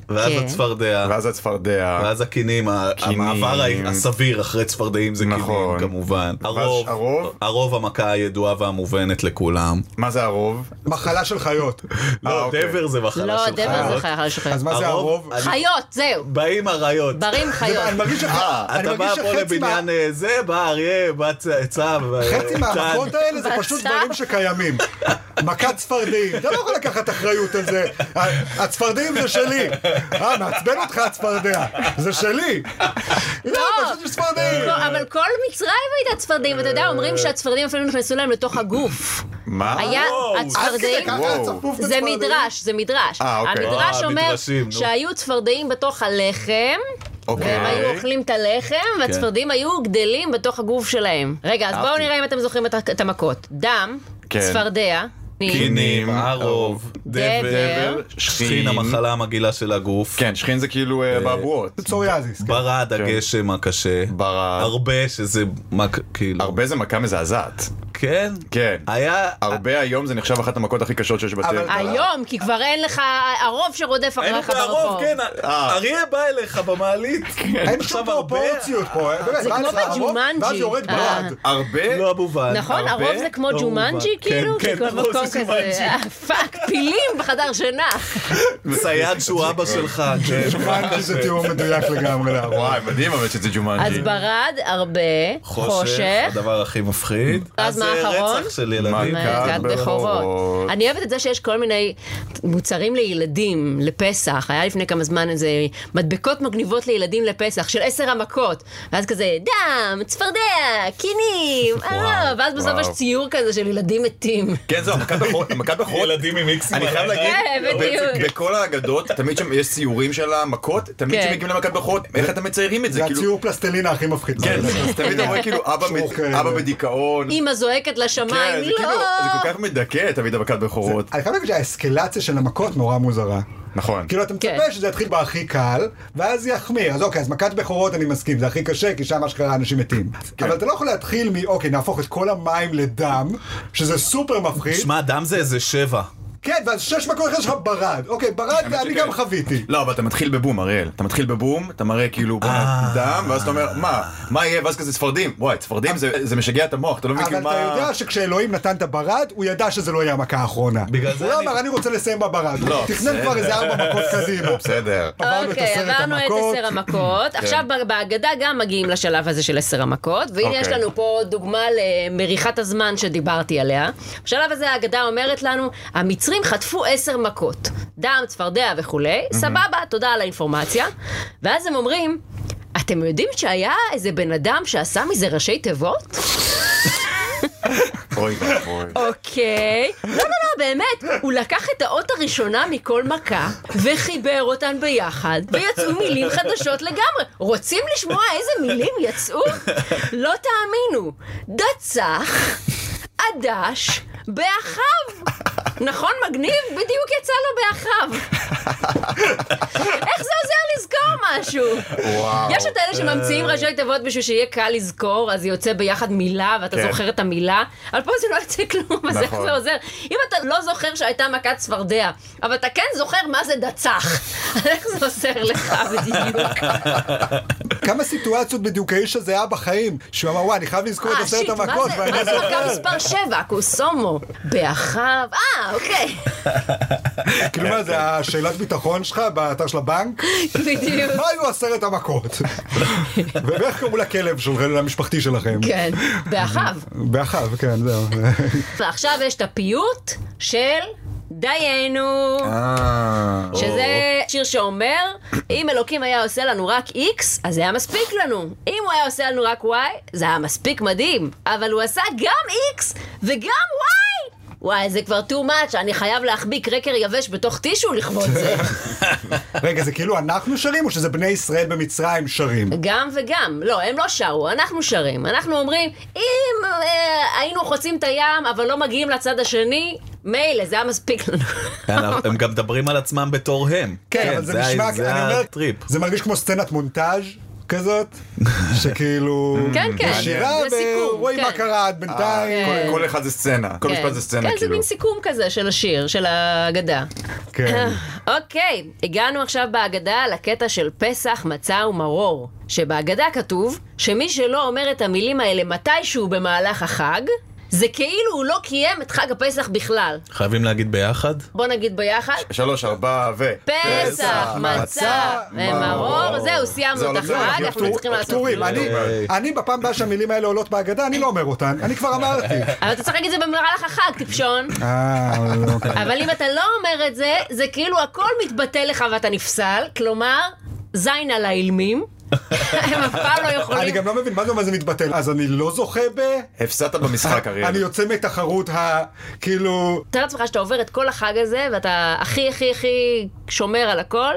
D: ואז
B: כן.
D: הצפרדע.
C: ואז הצפרדע.
D: ואז הקינים, ה-
C: קינים.
D: המעבר ה- הסביר אחרי צפרדעים זה
C: נכון.
D: קינים כמובן. הרוב,
C: הרוב?
D: הרוב המכה הידועה והמובנת לכולם.
C: מה זה הרוב?
A: מחלה של חיות.
C: אה,
D: לא,
C: אוקיי.
D: דבר זה מחלה
B: לא,
D: של
B: דבר זה
D: חיות.
B: חייל שלך.
A: אז מה זה הרוב?
D: אני-
B: חיות, זהו.
D: באים אריות.
B: ברים חיות.
A: אני מרגיש שח- אני
D: אה, אתה
A: מרגיש
D: בא פה
A: שחצי מה-
D: לבניין אה, זה, בא אריה, בא צ- צב. אה,
A: חצי
D: צאן.
A: מהמכות האלה זה
B: בצד.
A: פשוט דברים שקיימים. מכת צפרדעים, אתה לא יכול לקחת אחריות על זה. ה- הצפרדעים זה שלי. אה, מעצבן אותך הצפרדע, זה שלי. לא, פשוט יש צפרדעים.
B: לא, אבל כל מצרים הייתה צפרדעים, אתה יודע, אומרים שהצפרדעים אפילו נכנסו להם לתוך הגוף.
C: אה, מה?
B: היה
D: וואו.
A: עד כדי
B: הצפרדעים,
A: ככה
C: וואו.
A: צפוף
B: זה
A: בצפרדעים?
B: מדרש, זה מדרש.
C: אה, אוקיי.
B: המדרש
D: אה,
B: אומר
D: מדרשים, נו.
B: שהיו צפרדעים בתוך הלחם.
C: אוקיי.
B: והם היו אוכלים את הלחם, והצפרדעים היו גדלים בתוך הגוף שלהם. רגע, אז בואו
C: אהבתי.
B: נראה אם אתם זוכרים את ה- את המכות. דם,
C: כן.
B: צפרדע, נין,
D: קינים,
C: קינים,
D: הרוב, דבר,
B: דבר,
D: שכין, המחלה המגעילה של הגוף.
C: כן, שכין זה כאילו אה, באבועות.
A: פסוריאזיס. כן.
D: ברד הגשם הקשה.
C: ברד.
D: הרבה שזה, מה, כאילו.
C: הרבה זה מכה מזעזעת.
D: כן?
C: כן.
D: היה...
C: הרבה היום זה נחשב אחת המכות הכי קשות שיש בטבע.
B: אה. היום, כי כבר אין לך הרוב שרודף
D: היינו
B: אחריך
D: בערוב,
B: ברחוב.
D: כן,
C: אה. כן.
D: אריה בא אליך במעלית.
A: אין
D: עכשיו
A: שום
D: הרבה-
A: פרופורציות פה. אה, באמת,
B: זה
A: בא
B: כמו
A: לך הרוב,
B: בג'ומנג'י.
A: ואז יורד
B: אה.
A: ברד.
C: הרבה...
D: לא המובן.
B: נכון,
C: הרבה?
B: הרוב זה כמו
D: לא
B: ג'ומנג'י,
D: מובן.
B: כאילו?
D: כן, כן,
B: זה כבר
D: הרוב
B: מקום
D: זה
B: כזה,
D: ג'ומנג'י.
B: אה, פאק, פילים בחדר שינה.
D: צייד שהוא אבא שלך. כן.
A: ג'ומנג'י זה תיאור מדויק לגמרי להרוב.
C: וואי, מדהים אבל שזה
B: אז
C: ג'ומנג'י.
B: ברד, הרבה, חושך.
D: הדבר הכי מפחיד.
B: אז מה
D: זה
B: האחרון?
D: רצח של ילדים.
C: מה, מכת
B: מכת
C: בכורות.
B: בכורות. אה, אני אוהבת את זה שיש כל מיני מוצרים לילדים לפסח. היה לפני כמה זמן איזה מדבקות מגניבות לילדים לפסח של עשר המכות. ואז כזה דם, צפרדע, קינים, אה, ואז בסוף
C: וואו.
B: יש ציור כזה של ילדים מתים.
C: כן, זהו, מכת בכורות. מכת בכורות.
D: ילדים עם איקסים.
C: אני חייב להגיד,
B: כן, בדיוק.
C: בכל האגדות, תמיד שם יש ציורים של המכות, תמיד
B: כן.
C: כשמגיעים למכת בכורות, איך אתם מציירים את זה?
A: זה
C: כאילו-
A: הציור פלסטלינה הכי מפחיד.
C: כן, אז תמיד אתה רואה כאילו אבא
A: שרוך
C: מת-
D: אוקיי.
A: כאלה.
C: אבא בדיכאון.
B: אימא זועקת לשמיים,
C: כן, זה כאילו,
B: לא!
C: זה כל כך מדכא תמיד המכת בכורות.
A: אני חייב להגיד שהאסקלציה של המכות נורא מוזרה.
C: נכון.
A: כאילו אתה מצפה
B: כן.
A: שזה יתחיל בהכי קל, ואז יחמיר. אז אוקיי, אז מכת בכורות אני מסכים, זה הכי קשה, כי שם אשכרה אנשים מתים.
C: כן.
A: אבל אתה לא יכול להתחיל מ, אוקיי, נהפוך את כל המים לדם, שזה סופר מפחיד.
D: שמע, דם זה איזה שבע.
A: כן, ואז שש מכות אחרי שלך ברד. אוקיי, ברד
C: האמת
A: אני
C: שכן.
A: גם חוויתי.
C: לא, אבל אתה מתחיל בבום, אריאל. אתה מתחיל בבום, אתה מראה כאילו
A: אה.
C: בואנה, דם, ואז אתה אומר, מה, מה יהיה, ואז כזה צפרדים. וואי, צפרדים זה זה משגע את המוח, אתה לא מבין
A: אבל
C: כאילו
A: אתה
C: מה...
A: יודע שכשאלוהים נתן את הברד, הוא ידע שזה לא יהיה המכה האחרונה.
D: בגלל זה
A: הוא לא
D: אני-
A: אמר, אני רוצה לסיים בברד.
C: לא,
A: הוא תכנן כבר
C: בסדר.
A: איזה ארבע מכות קדימה.
C: בסדר.
A: עברנו את
B: אוקיי,
A: עשרת
B: עברנו את
A: המכות.
B: עשר המכות.
C: כן.
B: עכשיו ב- בהגדה גם מגיעים לשלב הזה של עשר המכות, והנה
C: אוקיי.
B: יש לנו פה דוגמה למריחת הזמן שדיברתי עליה. בשלב הזה ההגדה אומרת לנו, המצרים חטפו עשר מכות, דם, צפרדע וכולי, סבבה, תודה על האינפורמציה. ואז הם אומרים, אתם יודעים שהיה איזה בן אדם שעשה מזה ראשי תיבות?
C: אוי ואבוי.
B: אוקיי. לא, לא, לא, באמת. הוא לקח את האות הראשונה מכל מכה, וחיבר אותן ביחד, ויצאו מילים חדשות לגמרי. רוצים לשמוע איזה מילים יצאו? לא תאמינו. דצח, עדש, באחיו. נכון, מגניב? בדיוק יצא לו באחיו. איך זה עוזר לזכור משהו?
C: וואו.
B: יש את
A: אה.
B: אלה שממציאים ראשי תיבות בשביל שיהיה קל לזכור, אז יוצא ביחד מילה, ואתה
C: כן.
B: זוכר את המילה, אבל פה זה לא יוצא כלום, אז איך
C: נכון.
B: זה עוזר? אם אתה לא זוכר שהייתה מכת צפרדע, אבל אתה כן זוכר מה זה דצח, אז איך זה עוזר לך בדיוק?
A: כמה סיטואציות בדיוק האיש הזה היה בחיים, שהוא אמר, וואי, אני חייב לזכור את
B: אה,
A: עשרת
B: שיט, מה
A: המכות,
B: זה-
A: ואני
B: מה זה
A: לא
B: מכה
A: זוכר.
B: מספר 7, קוסומו, באחיו, אה, אוקיי,
A: כאילו מה, זה השאלת ביטחון שלך באתר של הבנק?
B: כן. בדיוק.
A: מה היו עשרת המכות? ואיך קראו לכלב שלכם, למשפחתי שלכם?
B: כן, באחיו.
A: באחיו, כן, זהו.
B: ועכשיו יש את הפיוט של דיינו.
C: אה,
B: שזה שיר שאומר, אם אלוקים היה עושה לנו רק X, אז זה היה מספיק לנו. אם הוא היה עושה לנו רק Y, זה היה מספיק מדהים. אבל הוא עשה גם X וגם Y! וואי, זה כבר too much, אני חייב להחביא קרקר יבש בתוך טישו לכבוד זה.
A: רגע, זה כאילו אנחנו שרים, או שזה בני ישראל במצרים שרים?
B: גם וגם. לא, הם לא שרו, אנחנו שרים. אנחנו אומרים, אם אה, היינו חוצים את הים, אבל לא מגיעים לצד השני, מילא, זה היה מספיק לנו.
D: כן, הם גם מדברים על עצמם בתור הם.
A: כן, אבל זה נשמע,
D: זה
A: אני אומר,
D: הטריפ.
A: זה מרגיש כמו סצנת מונטאז' כזאת, שכאילו...
B: כן, כן,
A: יש שירה,
B: זה סיכום,
A: ורואים
B: כן.
A: מה קרה עד
C: אה,
A: בינתיים.
C: כל- כל אחד זה סצנה, כל
B: כן.
C: משפט זה סצנה,
B: כן, זה
C: כאילו.
B: מין סיכום כזה של השיר, של ההגדה.
A: כן.
B: אוקיי, הגענו עכשיו בהגדה לקטע של פסח, מצה ומרור. שבהגדה כתוב שמי שלא אומר את המילים האלה מתישהו במהלך החג, זה כאילו הוא לא קיים את חג הפסח בכלל.
D: חייבים להגיד ביחד?
B: בוא נגיד ביחד.
C: שלוש, ארבע, ו...
B: פסח, מצה
A: מצה,
B: ומרור,
C: מרור.
B: זהו,
C: זהו,
B: סיימנו את
C: לא צריך
B: החג,
C: להגיד
B: אנחנו צריכים לעשות...
A: פטורים,
B: כאילו.
A: אני- אני בפעם הבאה שהמילים האלה עולות בהגדה, אני לא אומר אותן, אני כבר אמרתי.
B: אבל אתה צריך להגיד את זה במהלך החג, טיפשון.
A: אה, אוקיי.
B: אבל אם אתה לא אומר את זה, זה כאילו הכל מתבטל לך ואתה נפסל, כלומר, זין על האילמים. הם אף פעם לא
A: אני
B: יכולים.
A: גם לא מבין מה זה אומר זה מתבטל. אז אני לא זוכה ב...
C: הפסדת במשחק, אריאל.
A: אני יוצא מתחרות ה... כאילו...
B: תאר לעצמך לא שאתה עובר את כל החג הזה, ואתה הכי הכי הכי שומר על הכל,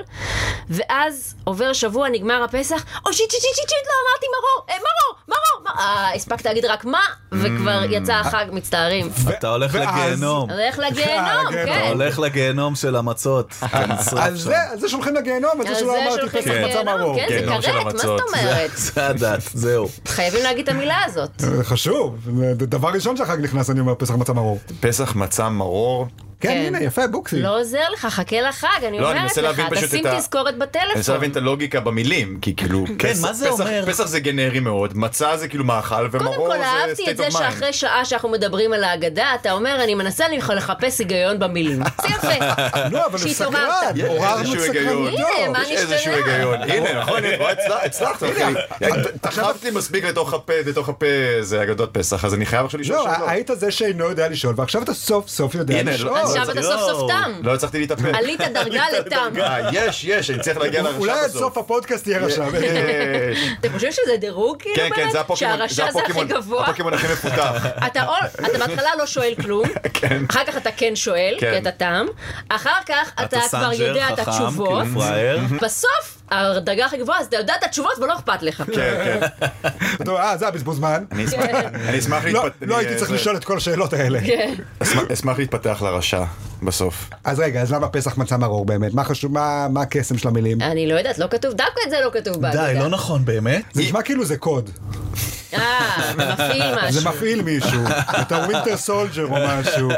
B: ואז עובר שבוע, נגמר הפסח, אוי שיט שיט שיט שיט שיט, לא אמרתי מרור, אה, מרור, מרור, מרור, אה, הספקת להגיד רק מה, וכבר יצא החג, מצטערים.
D: אתה הולך
A: ואז- אה,
D: לגיהנום.
B: הולך לגיהנום,
A: לגיהנום.
D: אתה
B: כן.
D: הולך לגיהנום של המצות. כן, אתה נשרף
A: על זה, על זה שולחים לגיהנום, על זה
B: על
A: שלא
B: זה
A: אמרתי
B: שהולכים
A: פסח מצה
B: לגיהנום,
A: מרור.
B: כן, זה
C: גיהנום של
B: כרת, מה זאת
C: המצות.
B: אומרת?
D: זה הדת, זהו.
B: חייבים להגיד את המילה הזאת.
A: זה כן. אה, חשוב, זה דבר ראשון שהחג נכנס, אני אומר, פסח מצה מרור.
C: פסח, מצה, מרור.
A: כן,
B: כן.
A: הנה, יפה, בוקסי.
B: לא עוזר לך, חכה לחג, אני
C: לא, אני
B: אומרת
C: מנסה
B: לך,
C: להבין פשוט
B: תשים
C: את ה-
B: תזכורת
C: אני רוצה
B: בטלפון.
C: להבין את הלוגיקה במילים, כי כאילו...
D: כן,
C: פס-
D: מה זה
C: פסח-
D: אומר?
C: פסח זה גנרי מאוד, מצה זה כאילו מאכל,
B: קודם
C: ומרור
B: כל
C: זה
B: אהבתי
C: state
B: את זה
C: of mind.
B: שאחרי שעה שאנחנו מדברים על ההגדה, אתה אומר, אני מנסה לך לחפש היגיון במילים. זה יפה.
A: לא, אבל הוא
B: שהתעוררת.
A: סקרן, לא,
C: יש
A: עוררנו את
C: איזשהו היגיון.
A: סקרנותו.
B: הנה, מה
C: יש איזשהו
B: נשתנה?
C: היגיון. הנה, נכון, הנה, רואה, הצלח- הצלחת, אחי. תחבתי מספיק לתוך הפה, לתוך הפה, זה אגדות פסח, אז אני חייב עכשיו לשאול
A: לא,
C: שאלות.
A: היית זה שאינו יודע לשאול, ועכשיו אתה סוף סוף יודע
C: הנה,
A: לשאול.
C: לא-
B: עכשיו אתה סוף סוף
D: יואו.
B: תם.
C: לא הצלחתי להתאפק.
B: עלית דרגה לתם.
C: אה, יש, יש, אני צריך להגיע לרשם
A: אולי עד סוף הפודקאסט יהיה רשם.
C: יש.
B: אתם חושבים שזה דירוג כאילו
C: כן,
B: באמת?
C: כן, זה הפוקימון,
B: שהרשע זה הכי
C: הפוקימון-
B: גבוה?
C: הפוקימון הכי מפותח.
B: אתה או- אתה בהתחלה לא שואל כלום,
C: כן.
B: אחר כך אתה כן שואל,
C: כן.
B: כי אתה תם, אחר כך אתה כבר
D: סנג'ר,
B: יודע את
D: חכם,
B: התשובות,
D: כאילו פראייר.
B: בסוף הדרגה הכי גבוהה, אז אתה יודע את התשובות ולא אכפת לך.
C: כן, כן.
A: לא, אה, זה היה בזבוז זמן.
C: אני אשמח- אני אה, אשמח
A: לא,
C: להתפתח.
A: לא הייתי צריך לשאול את כל השאלות האלה.
B: כן.
C: אשמח להתפתח לרשע, בסוף.
A: אז רגע, אז למה פסח מצא מרור באמת? מה חשוב, מה מה הקסם של המילים?
B: אני לא יודעת, לא כתוב, דווקא את זה לא כתוב בהגדה.
D: די, לא נכון, באמת?
A: זה נשמע כאילו זה קוד.
B: אה, מפעיל משהו.
A: זה מפעיל מישהו, אתה ווינטר סולג'ר או משהו.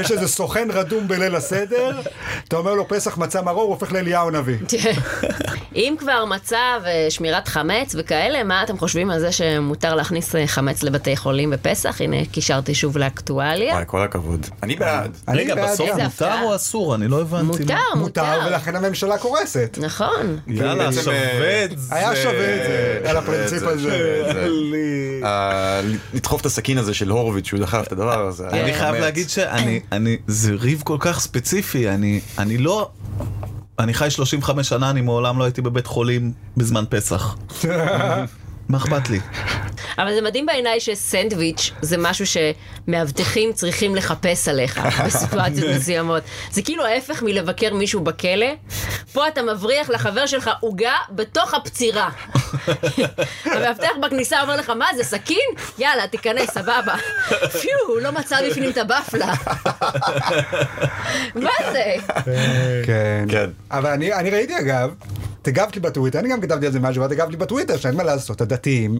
A: יש איזה סוכן רדום בליל הסדר, אתה אומר לו פסח מצא מרור, הוא הופך לאליהו הנביא.
B: תראה, אם כבר מצה ושמירת חמץ וכאלה, מה אתם חושבים על זה שמותר להכניס אה, חמץ לבתי חולים בפסח? הנה, קישרתי שוב לאקטואליה.
C: וואי, כל הכבוד. אני בעד.
A: אני
D: רגע,
A: בעד
D: בסוף
A: גם.
B: איזה
D: מותר
B: הפתעה.
D: או אסור? אני לא הבנתי.
B: מותר,
D: מה-
A: אה, מותר,
B: מותר.
A: ולכן הממשלה קורסת.
B: נכון.
D: יאללה,
C: בעצם,
D: שווה
C: אה,
D: את זה.
A: היה שווה את זה, על הפרינציפ
C: שווה את זה,
A: הזה.
C: שווה את זה. אה, לדחוף את הסכין הזה של הורוביץ שהוא דחף את הדבר הזה.
D: אני
B: כן.
D: חייב
C: באמת.
D: להגיד שאני, אני, זה ריב כל כך ספציפי, אני, אני לא... אני חי 35 שנה, אני מעולם לא הייתי בבית חולים בזמן פסח. מה אכפת לי?
B: אבל זה מדהים בעיניי שסנדוויץ' זה משהו שמאבטחים צריכים לחפש עליך בסיטואציות מסוימות. זה כאילו ההפך מלבקר מישהו בכלא. פה אתה מבריח לחבר שלך עוגה בתוך הפצירה. המאבטח בכניסה אומר לך, מה זה, סכין? יאללה, תיכנס, סבבה. פיו, הוא לא מצא בפנים את הבפלה. מה זה?
A: כן.
C: כן.
A: אבל אני, אני ראיתי אגב, את הגבת לי בטוויטר, אני גם כתבתי על זה משהו, ואת הגבת לי בטוויטר, שאין מה לעשות, הדתיים.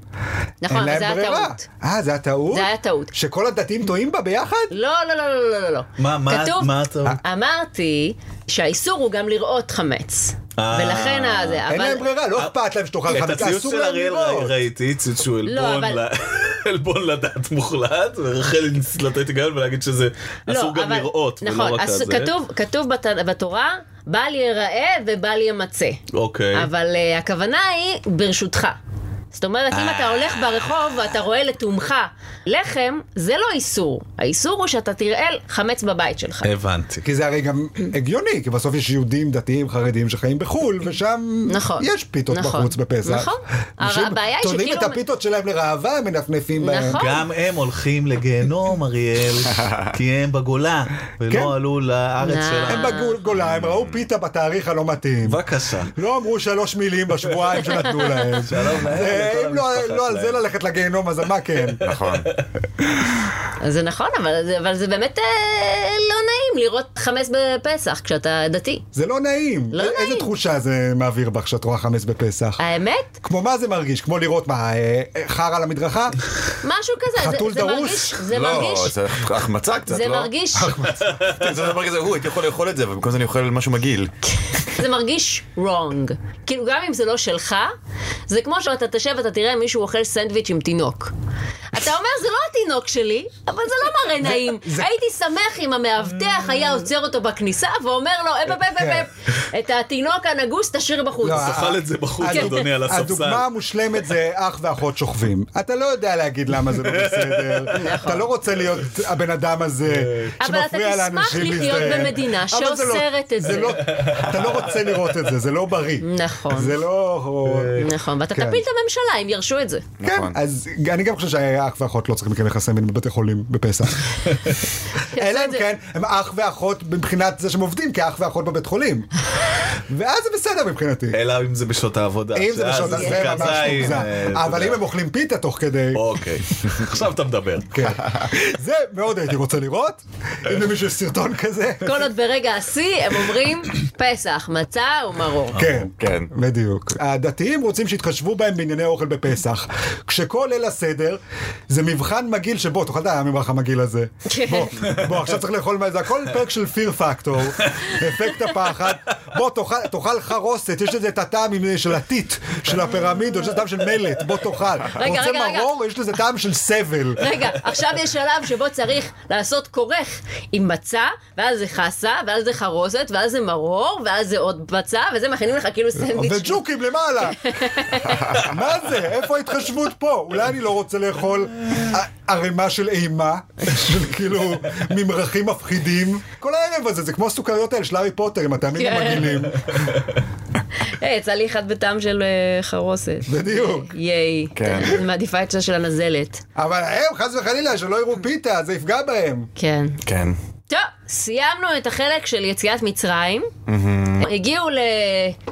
A: אין
B: נכון, אבל
A: להם
B: זה היה
A: ברירה.
B: טעות.
A: אה, זה הטעות?
B: זה היה טעות.
A: שכל הדתיים טועים בה ביחד?
B: לא, לא, לא, לא, לא, לא, לא.
D: מה- מה-
B: כתוב,
D: מה אתה-
A: אה,
B: אמרתי שהאיסור הוא גם לראות חמץ.
D: אה.
B: ולכן הזה,
A: אין
B: אבל...
A: להם ברירה, לא אכפת להם שתאכל
D: את
A: חמץ,
D: הציוץ
A: אסור
D: של
A: להם
D: אריאל
A: לראות.
D: ראיתי, ציוץ שהוא עלבון
B: לא, אבל-
D: ל- עלבון לדעת מוחלט, ורחל ניסית לתת היגיון ולהגיד שזה
B: לא,
D: אסור גם
B: אבל-
D: לראות, ולא
B: נכון,
D: רק על
B: אז
D: זה.
B: כתוב, כתוב בת, בתורה, בל ייראה ובל ימצא.
D: אוקיי.
B: אבל uh, הכוונה היא ברשותך. זאת אומרת, אם
D: אה.
B: אתה הולך ברחוב ואתה רואה לתומך לחם, זה לא איסור. האיסור הוא שאתה תראה חמץ בבית שלך.
D: הבנתי.
A: כי זה הרי גם הגיוני, כי בסוף יש יהודים דתיים חרדים שחיים בחו"ל, ושם
B: נכון.
A: יש פיתות
B: נכון.
A: בחוץ בפסח.
B: נכון.
A: אנשים
B: הבעיה היא
A: תולים את
B: שכאילו-
A: הפיתות שלהם לראווה, מנפנפים בהם.
B: נכון.
D: גם הם הולכים לגיהנום, אריאל, כי הם בגולה,
A: כן.
D: ולא עלו לארץ
B: נא.
D: שלהם.
A: הם בגולה, הם ראו פיתה בתאריך הלא מתאים.
D: בבקשה.
A: לא אמרו שלוש מילים בשבועיים שנתנו להם.
D: שלום להם,
A: אה,
D: לכל
A: אם לא-
D: המשפחה
A: לא על זה
D: שלהם.
A: ללכת לגיהנום, אז על מה כן?
C: נכון.
B: אז זה נכון, אבל זה, אבל זה באמת אה, לא נעים לראות חמץ בפסח כשאתה דתי.
A: זה לא נעים.
B: לא
A: א-
B: נעים.
A: איזה תחושה זה מעביר בך כשאת רואה חמץ בפסח?
B: האמת?
A: כמו מה זה מרגיש? כמו לראות מה, אה, אה, חר על המדרכה?
B: משהו כזה. זה-
A: חתול
B: זה
A: דרוס?
B: מרגיש- זה
C: לא,
B: מרגיש...
C: זה החמצה קצת,
B: זה
C: לא?
B: מרגיש,
C: כן, זה דבר כזה, הוא, הייתי יכול לאכול את זה, ובמקום זה אני אוכל משהו מגעיל.
B: זה מרגיש wrong. כאילו, גם אם זה לא שלך, זה כמו שאתה תשב ואתה תראה מישהו אוכל סנדוויץ' עם תינוק. אתה אומר, זה לא התינוק שלי, אבל זה לא מראה נעים. הייתי שמח אם המאבטח היה עוצר אותו בכניסה ואומר לו, אפ אפ אפ אפ, את התינוק הנגוס תשאיר בחוץ.
A: לא,
D: תאכל את זה בחוץ,
A: הדוג-
D: אדוני, על הספסל.
A: הדוגמה המושלמת זה אח ואחות שוכבים. אתה לא יודע להגיד למה זה לא בסדר. אתה לא רוצה להיות הבן אדם הזה
B: נכון.
D: כן.
B: אבל אתה
A: שמפריע
B: תשמח
A: לאנשים
B: לחיות
A: להזדהם.
B: במדינה
A: אבל זה לא-
B: שאוסרת את זה.
A: לא- אתה לא רוצה לראות את זה, זה לא בריא.
B: נכון.
A: זה לא...
D: אה,
B: נכון, ואתה
A: כן.
B: תפיל את הממשלה אם ירשו את זה.
A: כן,
C: נכון.
A: אז אני גם חושב שהאח ואחות לא צריכים לקיים יחסי מין בבתי חולים בפסח. אלא אם
B: זה-
A: כן, הם אח ואחות מבחינת זה שהם עובדים כאח ואחות בבית חולים. ואז זה בסדר מבחינתי.
D: אלא אם זה בשעות העבודה.
A: אם זה
D: שאז
A: בשעות, אז זה
D: כזית,
A: ממש
D: אה,
A: מוגזם.
D: אתה
A: אבל אם
D: יודע.
A: הם אוכלים פיתה תוך כדי...
D: אוקיי, עכשיו אתה מדבר.
A: כן. זה מאוד הייתי רוצה לראות, אם למישהו יש סרטון כזה.
B: כל עוד ברגע השיא הם אומרים, פסח, מצה ומרור.
A: כן,
C: כן.
A: בדיוק. הדתיים רוצים שיתחשבו בהם בענייני אוכל בפסח. כשכל ליל הסדר זה מבחן מגעיל שבו, תאכל את הממרח המגעיל הזה.
B: כן.
A: בוא, בוא, עכשיו צריך לאכול מה זה, הכל פרק של פיר פקטור, אפקט הפחד. בוא, תאכל- תאכל חרוסת, יש לזה את הטעם עם- של הטיט, של הפירמידות, יש לזה טעם של מלט, בוא תאכל.
B: רגע,
A: רוצה
B: רגע.
A: מרור, יש לזה טעם של סבל.
B: רגע, עכשיו יש שלב שבו צריך לעשות כורך עם מצה, ואז זה חסה, ואז זה חרוזת, ואז זה מרור, ואז זה עוד מצה, וזה מכינים לך
C: אה,
B: כאילו סנדוויץ'.
A: וג'וקים למעלה. מה זה? איפה ההתחשבות פה? אולי אני לא רוצה לאכול ע- ערימה של אימה, של כאילו ממרחים מפחידים. כל הערב הזה, זה כמו הסוכריות האלה של הארי פוטר, עם הטעמים
B: כן.
A: המגעילים.
B: היי, אה, יצא לי אחד בטעם של אה, חרוסת.
A: בדיוק.
B: ייי.
C: כן.
B: אני מעדיפה את זה של הנזלת.
A: אבל הם, חס וחלילה, שלא יראו פיתה, זה יפגע בהם.
B: כן.
C: כן.
B: טוב, סיימנו את החלק של יציאת מצרים. הגיעו ל...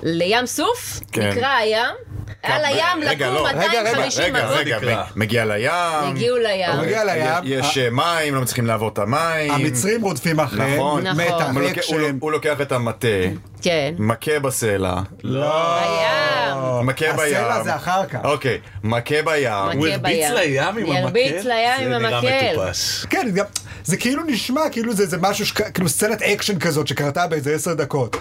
B: לים סוף,
C: כן.
B: נקרא הים. על הים
C: רגע,
B: לקום
C: לא.
A: רגע, רגע,
B: 250
C: רגע,
B: מגות.
C: רגע,
D: נקרא.
C: מ- מגיע לים.
B: הגיעו לים.
A: הוא מגיע לים.
C: יש אה, מים, לא מצליחים לעבור את המים.
A: המצרים רודפים אחריהם,
C: נכון.
B: נכון.
A: מתח,
C: הוא לוקח- הוא-
A: אקשן.
C: הוא לוקח את המטה,
B: כן.
C: מכה בסלע.
D: לא.
B: הים.
A: לא.
C: מכה בים.
A: הסלע זה אחר כך.
C: אוקיי, מכה בים.
B: מכה
D: הוא הרביץ
B: בים.
D: לים עם המקל?
B: הרביץ לים עם
D: זה נראה
B: המקל.
D: מטופש.
C: לא-
A: כן, גם, זה כאילו נשמע כאילו זה, זה משהו, שק, כאילו סצנת אקשן כזאת שקרתה באיזה עשר דקות.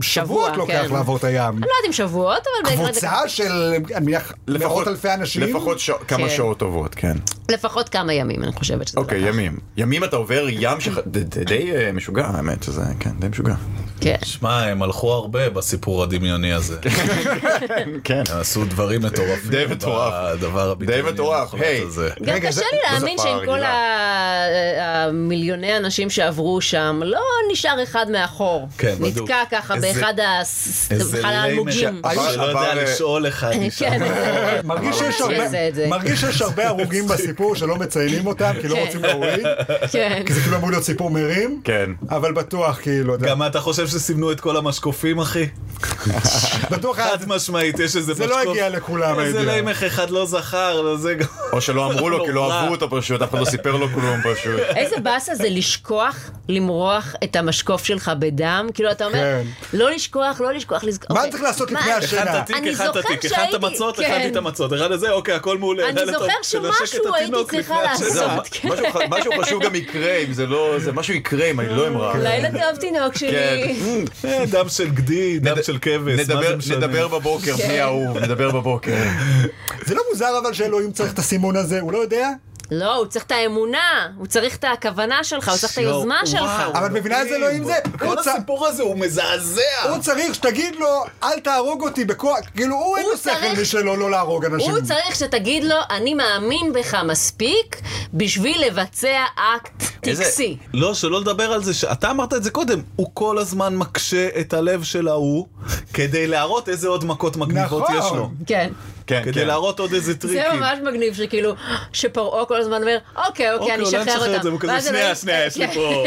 A: שבועות לוקח
B: כן.
A: לעבור את הים.
B: אני לא יודעת אם שבועות, אבל...
A: קבוצה של, אני מניח, מאות אלפי אנשים.
C: לפחות שע- כמה
B: כן.
C: שעות טובות, כן.
B: לפחות כמה ימים, אני חושבת שזה לא-
C: אוקיי,
B: לקח.
C: ימים. ימים אתה עובר ים ש... די אה, משוגע, האמת שזה, כן, די משוגע.
B: כן.
D: שמע, הם הלכו הרבה בסיפור הדמיוני הזה.
C: כן.
D: הם עשו דברים מטורפים.
C: די מטורף.
D: הדבר
C: די מטורף, היי.
D: הזה.
B: גם
A: רגע,
B: קשה
A: זה-
B: לי
C: זה
B: להאמין
C: פער
B: שעם כל
C: גדולה.
B: ה- המיליוני אנשים שעברו שם, לא נשאר אחד מאחור.
D: כן, בדיוק.
B: נתקע ככה
D: איזה-
B: באחד הס-
D: איזה
B: אחד
D: ליימן
B: האלמוגים.
C: אבל-
D: שלא לא יודע
A: אה,
C: אבל-
D: לשאול אחד.
B: כן.
A: מרגיש שיש
B: ממש
A: הרבה-
B: עושה את זה.
A: מרגיש שיש הרבה הרוגים בסיפור שלא מציינים אותם, כי לא
B: כן.
A: רוצים להוריד,
B: כן.
A: כי זה כאילו אמור להיות סיפור מרים,
C: כן.
A: אבל בטוח כאילו, אתה יודע,
D: גם אתה חושב שסימנו את כל המשקופים, אחי?
A: בטוח
D: חד
A: אז-
D: משמעית, יש איזה
A: זה
D: משקוף.
A: לא הגיע לכולם,
D: איזה
A: הידיעה.
D: לימך אחד לא זכר, לא זה גם...
C: או שלא אמרו לו, כי לא
D: נורא.
C: אהבו אותו פשוט, אף אחד לא סיפר לו כלום פשוט.
B: איזה באסה זה לשכוח למרוח את המשקוף שלך בדם? כאילו, אתה אומר,
A: כן.
B: לא לשכוח, לא לשכוח, לזכור.
A: מה
B: אוקיי.
A: צריך לעשות
B: מה-
A: לפני הש-
D: אחד
A: שינה.
D: תתיק,
B: אני
D: אחד
B: זוכר
D: תתיק, אחד
B: שהייתי-
D: את המצות,
B: כן.
D: אחד את המצות, אחד את המצות, אגר, הכל מעולה.
B: אני
D: יאללה,
B: זוכר
D: טוב,
B: שמשהו
D: נשק את
B: הייתי
D: התינוק
B: צריכה
D: לפני
B: לעשות.
D: השינה.
C: זהו, משהו ח- משהו חשוב גם יקרה, אם זה לא... זה משהו יקרה, אם אני לא אמרה.
B: לילה טוב, תינוק שלי.
C: כן.
D: אה, דם של גדי, דם
C: נד-
D: של כבש, מה
C: נדבר-
D: זה משנה?
C: נדבר בבוקר,
B: כן.
C: בני אהוב, נדבר בבוקר.
A: זה לא מוזר אבל שאלוהים צריך את הסימון הזה, הוא לא יודע,
B: לא, הוא צריך את האמונה, הוא צריך את הכוונה שלך, הוא צריך את היוזמה
D: יואו, וואו.
B: שלך.
A: אבל את מבינה איזה אלוהים זה? הוא
D: כל
A: צ-
D: הסיפור הזה הוא מזעזע.
B: אה.
A: הוא צריך שתגיד לו, אל תהרוג אותי בכוח, כאילו הוא אין
B: הוא
A: לו
B: צריך-
A: שכל משלו לא להרוג אנשים.
B: הוא צריך שתגיד לו, אני מאמין בך מספיק בשביל לבצע אקט
C: איזה-
B: טקסי.
D: לא, שלא לדבר על זה, שאתה אמרת את זה קודם, הוא כל הזמן מקשה את הלב של ההוא, כדי להראות איזה עוד מכות מגניבות
A: נכון.
D: יש לו.
B: כן.
C: כן,
D: כדי
C: כן.
D: להראות עוד איזה
B: זה
D: טריקים.
B: ממש מגניב שכאילו, שפרעה כל הזמן אומר, אוקיי, אוקיי, אני
D: אוקיי, אולי
B: אשחרר אותם.
D: את זה, והוא כזה,
B: ואז הם
D: שנייה,
B: באים-
D: שנייה, יש לי
B: כן.
D: פה,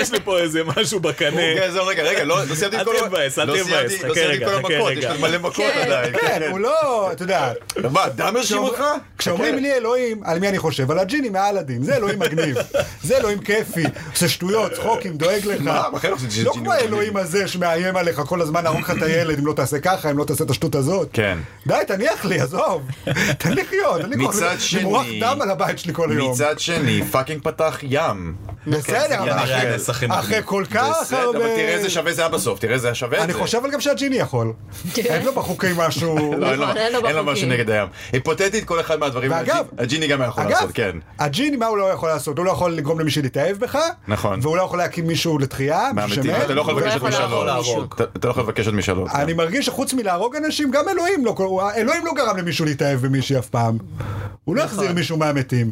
D: יש לי פה איזה משהו בקנה.
C: רגע, זהו, רגע, רגע, לא לא סיימתי את
D: אל
C: כל ה-
D: תתבאס, אל
C: לא
D: תתבאס,
C: סיימתי- לא
D: חכה
C: סיימתי
D: רגע,
C: את כל
D: חכה
C: המכות,
D: רגע.
C: יש עוד מלא מכות
B: כן.
C: עדיין.
A: כן, הוא לא, אתה יודע,
C: מה, כן. דם הרשים אותך?
A: כשאומרים לי אלוהים, על מי אני חושב? על הג'יני מאלאדין, זה אלוהים מגניב, זה אלוהים כיפי, עושה שטויות, צחוקים, דואג לך.
C: מה, בחיים לא עשיתי
A: לא
C: ג'יני
A: כמו
C: מגניב.
A: האלוהים הזה שמאיים עליך כל הזמן, להרוג לך את הילד, אם לא תעשה ככה, אם לא תעשה את השטות הזאת.
C: כן.
A: די, תניח לי, עזוב. תן לי לחיות, תן לי כוח
C: מצד
A: למרוח
C: שני-
A: דם על הבית שלי כל היום.
C: מצד אוקיי, שני, פאקינג פתח ים.
A: בסדר, אבל
D: כנראה
A: אחרי-
D: הנס הכי מגניב.
A: אחרי כל כך
C: בסדר,
A: הרבה...
C: אבל תראה איזה שווה זה היה בסוף, תראה איזה היה שווה את
A: אני
C: זה.
A: חושב אבל גם שהג'יני יכול. אין לו בחוקים משהו...
C: לא, אין לו-
B: נכון, אין לו
C: אין לו משהו
B: בחוקים.
C: נגד הים. היפותטית, כל אחד מהדברים,
A: ואגב-
C: הג'י- הג'יני גם היה יכול
A: אגב,
C: לעשות, כן.
A: הג'יני מה הוא לא יכול לעשות? הוא לא יכול לגרום למישהו להתאהב בך,
C: נכון.
A: והוא לא יכול להקים מישהו לתחייה, מישהו
C: מהמתים,
A: שמת.
C: אתה לא יכול
B: הוא לא
C: לבקש את
B: יכול
C: משאלות.
B: להרוג מישהו.
C: אתה- אתה לא יכול לבקש את משאלות.
A: אני מרגיש שחוץ מלהרוג אנשים, גם אלוהים לא, אלוהים לא גרם למישהו להתאהב במישהי אף פעם. הוא לא
C: נכון.
A: החזיר מישהו מהמתים.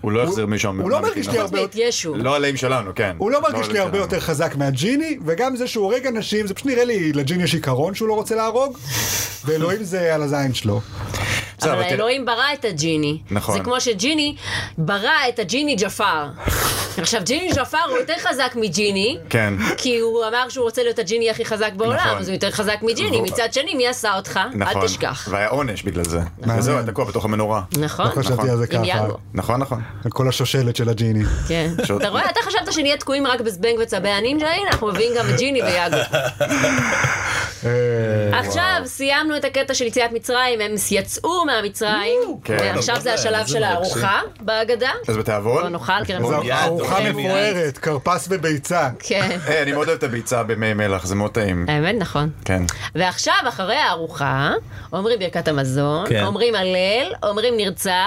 C: הוא לא יחזיר מישהו.
A: הוא לא
C: מהמתים,
A: מרגיש לי
C: נכון.
A: הרבה
B: ואת ישו.
C: לא עליהם שלנו, כן.
A: הוא לא מרגיש לי
C: עליהם
A: הרבה
C: שלנו.
A: יותר חזק מהג'יני, וגם זה שהוא הורג אנשים, זה פשוט נראה לי, לג'יני יש עיקרון שהוא לא רוצה להרוג, ואלוהים זה על הזין שלו.
C: נכון. בסדר,
B: אבל
C: אבל תראה-
B: האלוהים ברא את הג'יני.
C: נכון.
B: זה כמו שג'יני ברא את הג'יני ג'פר. עכשיו, ג'יני ג'פר הוא יותר חזק מג'יני.
C: כן.
B: כי הוא אמר שהוא רוצה להיות הג'יני הכי חזק בעולם,
C: נכון.
B: אז הוא יותר חזק מג'יני.
C: והוא-
B: מצד שני, מי עשה אותך?
C: נכון.
B: אל תשכח.
C: והיה עונש בגלל זה. בגלל זה הוא היה תקוע בתוך המנורה.
B: נכון.
A: לא חשבתי על זה
B: עם
A: ככה,
B: יאגו.
C: נכון, נכון.
A: על כל השושלת של הג'יני.
B: כן.
C: פשוט-
B: אתה רואה? אתה חשבת שנהיה תקועים רק בזבנג וצבי הנינג'ה, הנה אנחנו מביאים גם את ג'יני ויאגו.
A: אה,
B: עכשיו סיימנו את הקטע של יציאת מצרים, הם יצאו מהמצרים,
C: כן.
B: ועכשיו זה
D: טוב,
B: השלב
D: איזה
B: של
D: מרגשים.
B: הארוחה בהגדה.
C: אז בתיאבון?
B: לא נאכל, כי
A: זו
B: אנחנו...
D: יד,
A: ארוחה
D: אוקיי,
A: מפוארת, כרפס וביצה.
B: כן.
C: היי, אה, אני מאוד אוהב את הביצה במי מלח, זה מאוד טעים.
B: האמת, נכון.
C: כן.
B: ועכשיו, אחרי הארוחה, אומרים ברכת המזון,
D: כן.
B: אומרים הלל, אומרים נרצה,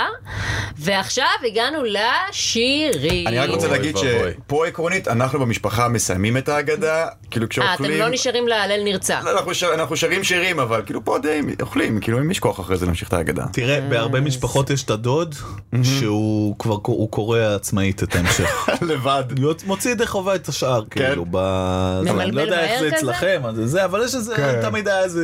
B: ועכשיו הגענו לשירים.
C: אני רק רוצה
D: אוי
C: להגיד
D: ואבוי.
C: שפה עקרונית, אנחנו במשפחה מסיימים את ההגדה, כאילו
B: אה, אתם
C: כשאוכלים...
B: לא נשארים להלל נרצה.
C: לא, אנחנו שר- אנחנו שרים שירים, אבל כאילו פה די אוכלים, כאילו אין משכוח אחרי זה להמשיך את ההגדה.
D: תראה, בהרבה משפחות יש את הדוד, שהוא כבר ק- הוא קורא עצמאית את ההמשך.
C: לבד.
D: להיות- מוציא ידי חובה את השאר,
A: כן.
D: כאילו, ב...
B: ממלמל
D: אני לא יודע איך זה
B: מהר כזה?
D: אצלכם, אז זה, אבל יש איזה,
A: כן.
D: תמיד היה איזה...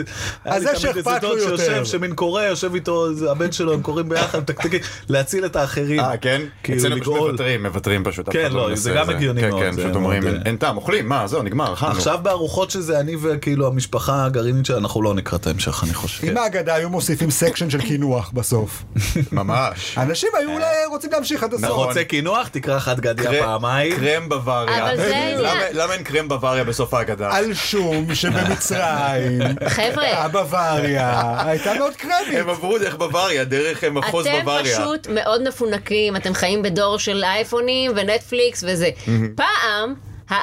D: היה
A: אז
D: לי
A: זה
D: תמיד איזה
A: שאכפת
D: דוד
A: לו יותר.
D: שיושב, שמין קורא, יושב איתו, זה הבן שלו, הם קוראים ביחד, מתקתקים, להציל את האחרים.
C: אה, כן?
D: כאילו,
C: אצלנו פשוט
D: לגאול.
C: מוותרים, מוותרים פשוט. אף
D: כן,
C: אחד
D: לא,
C: מנסה
D: זה גם
C: את
D: הגיוני מאוד,
C: כן,
D: זה
C: כן, פשוט
D: מאוד,
C: אומרים,
D: אה.
C: אין טעם, אוכלים, מה, זהו, נגמר, אכלנו.
D: עכשיו בארוחות שזה אני וכאילו המשפחה ההמשכה הגרעינית שלה, אנחנו לא נקרא את ההמשך, אני חושב.
A: אם ההגדה היו מוסיפים סקשן של קינוח בסוף.
C: ממש.
A: אנשים היו אולי רוצים להמשיך עד
D: אתה
A: הסוף.
D: רוצה קינוח? תקרא אחת גדיה
C: קרם-
D: פעמיים.
C: קרם בוואריה.
B: אבל זה העניין.
C: למה- למה אין קרם בוואריה בסוף ההגדה?
A: על שום שבמצרים,
B: חבר'ה.
A: הבוואריה, הייתה מאוד קרמית.
C: הם עברו דרך בוואריה, דרך אה, מחוז
B: אתם
C: בוואריה.
B: פשוט מאוד מפונקים, אתם חיים בדור של אייפונים ונטפליקס וזה. פעם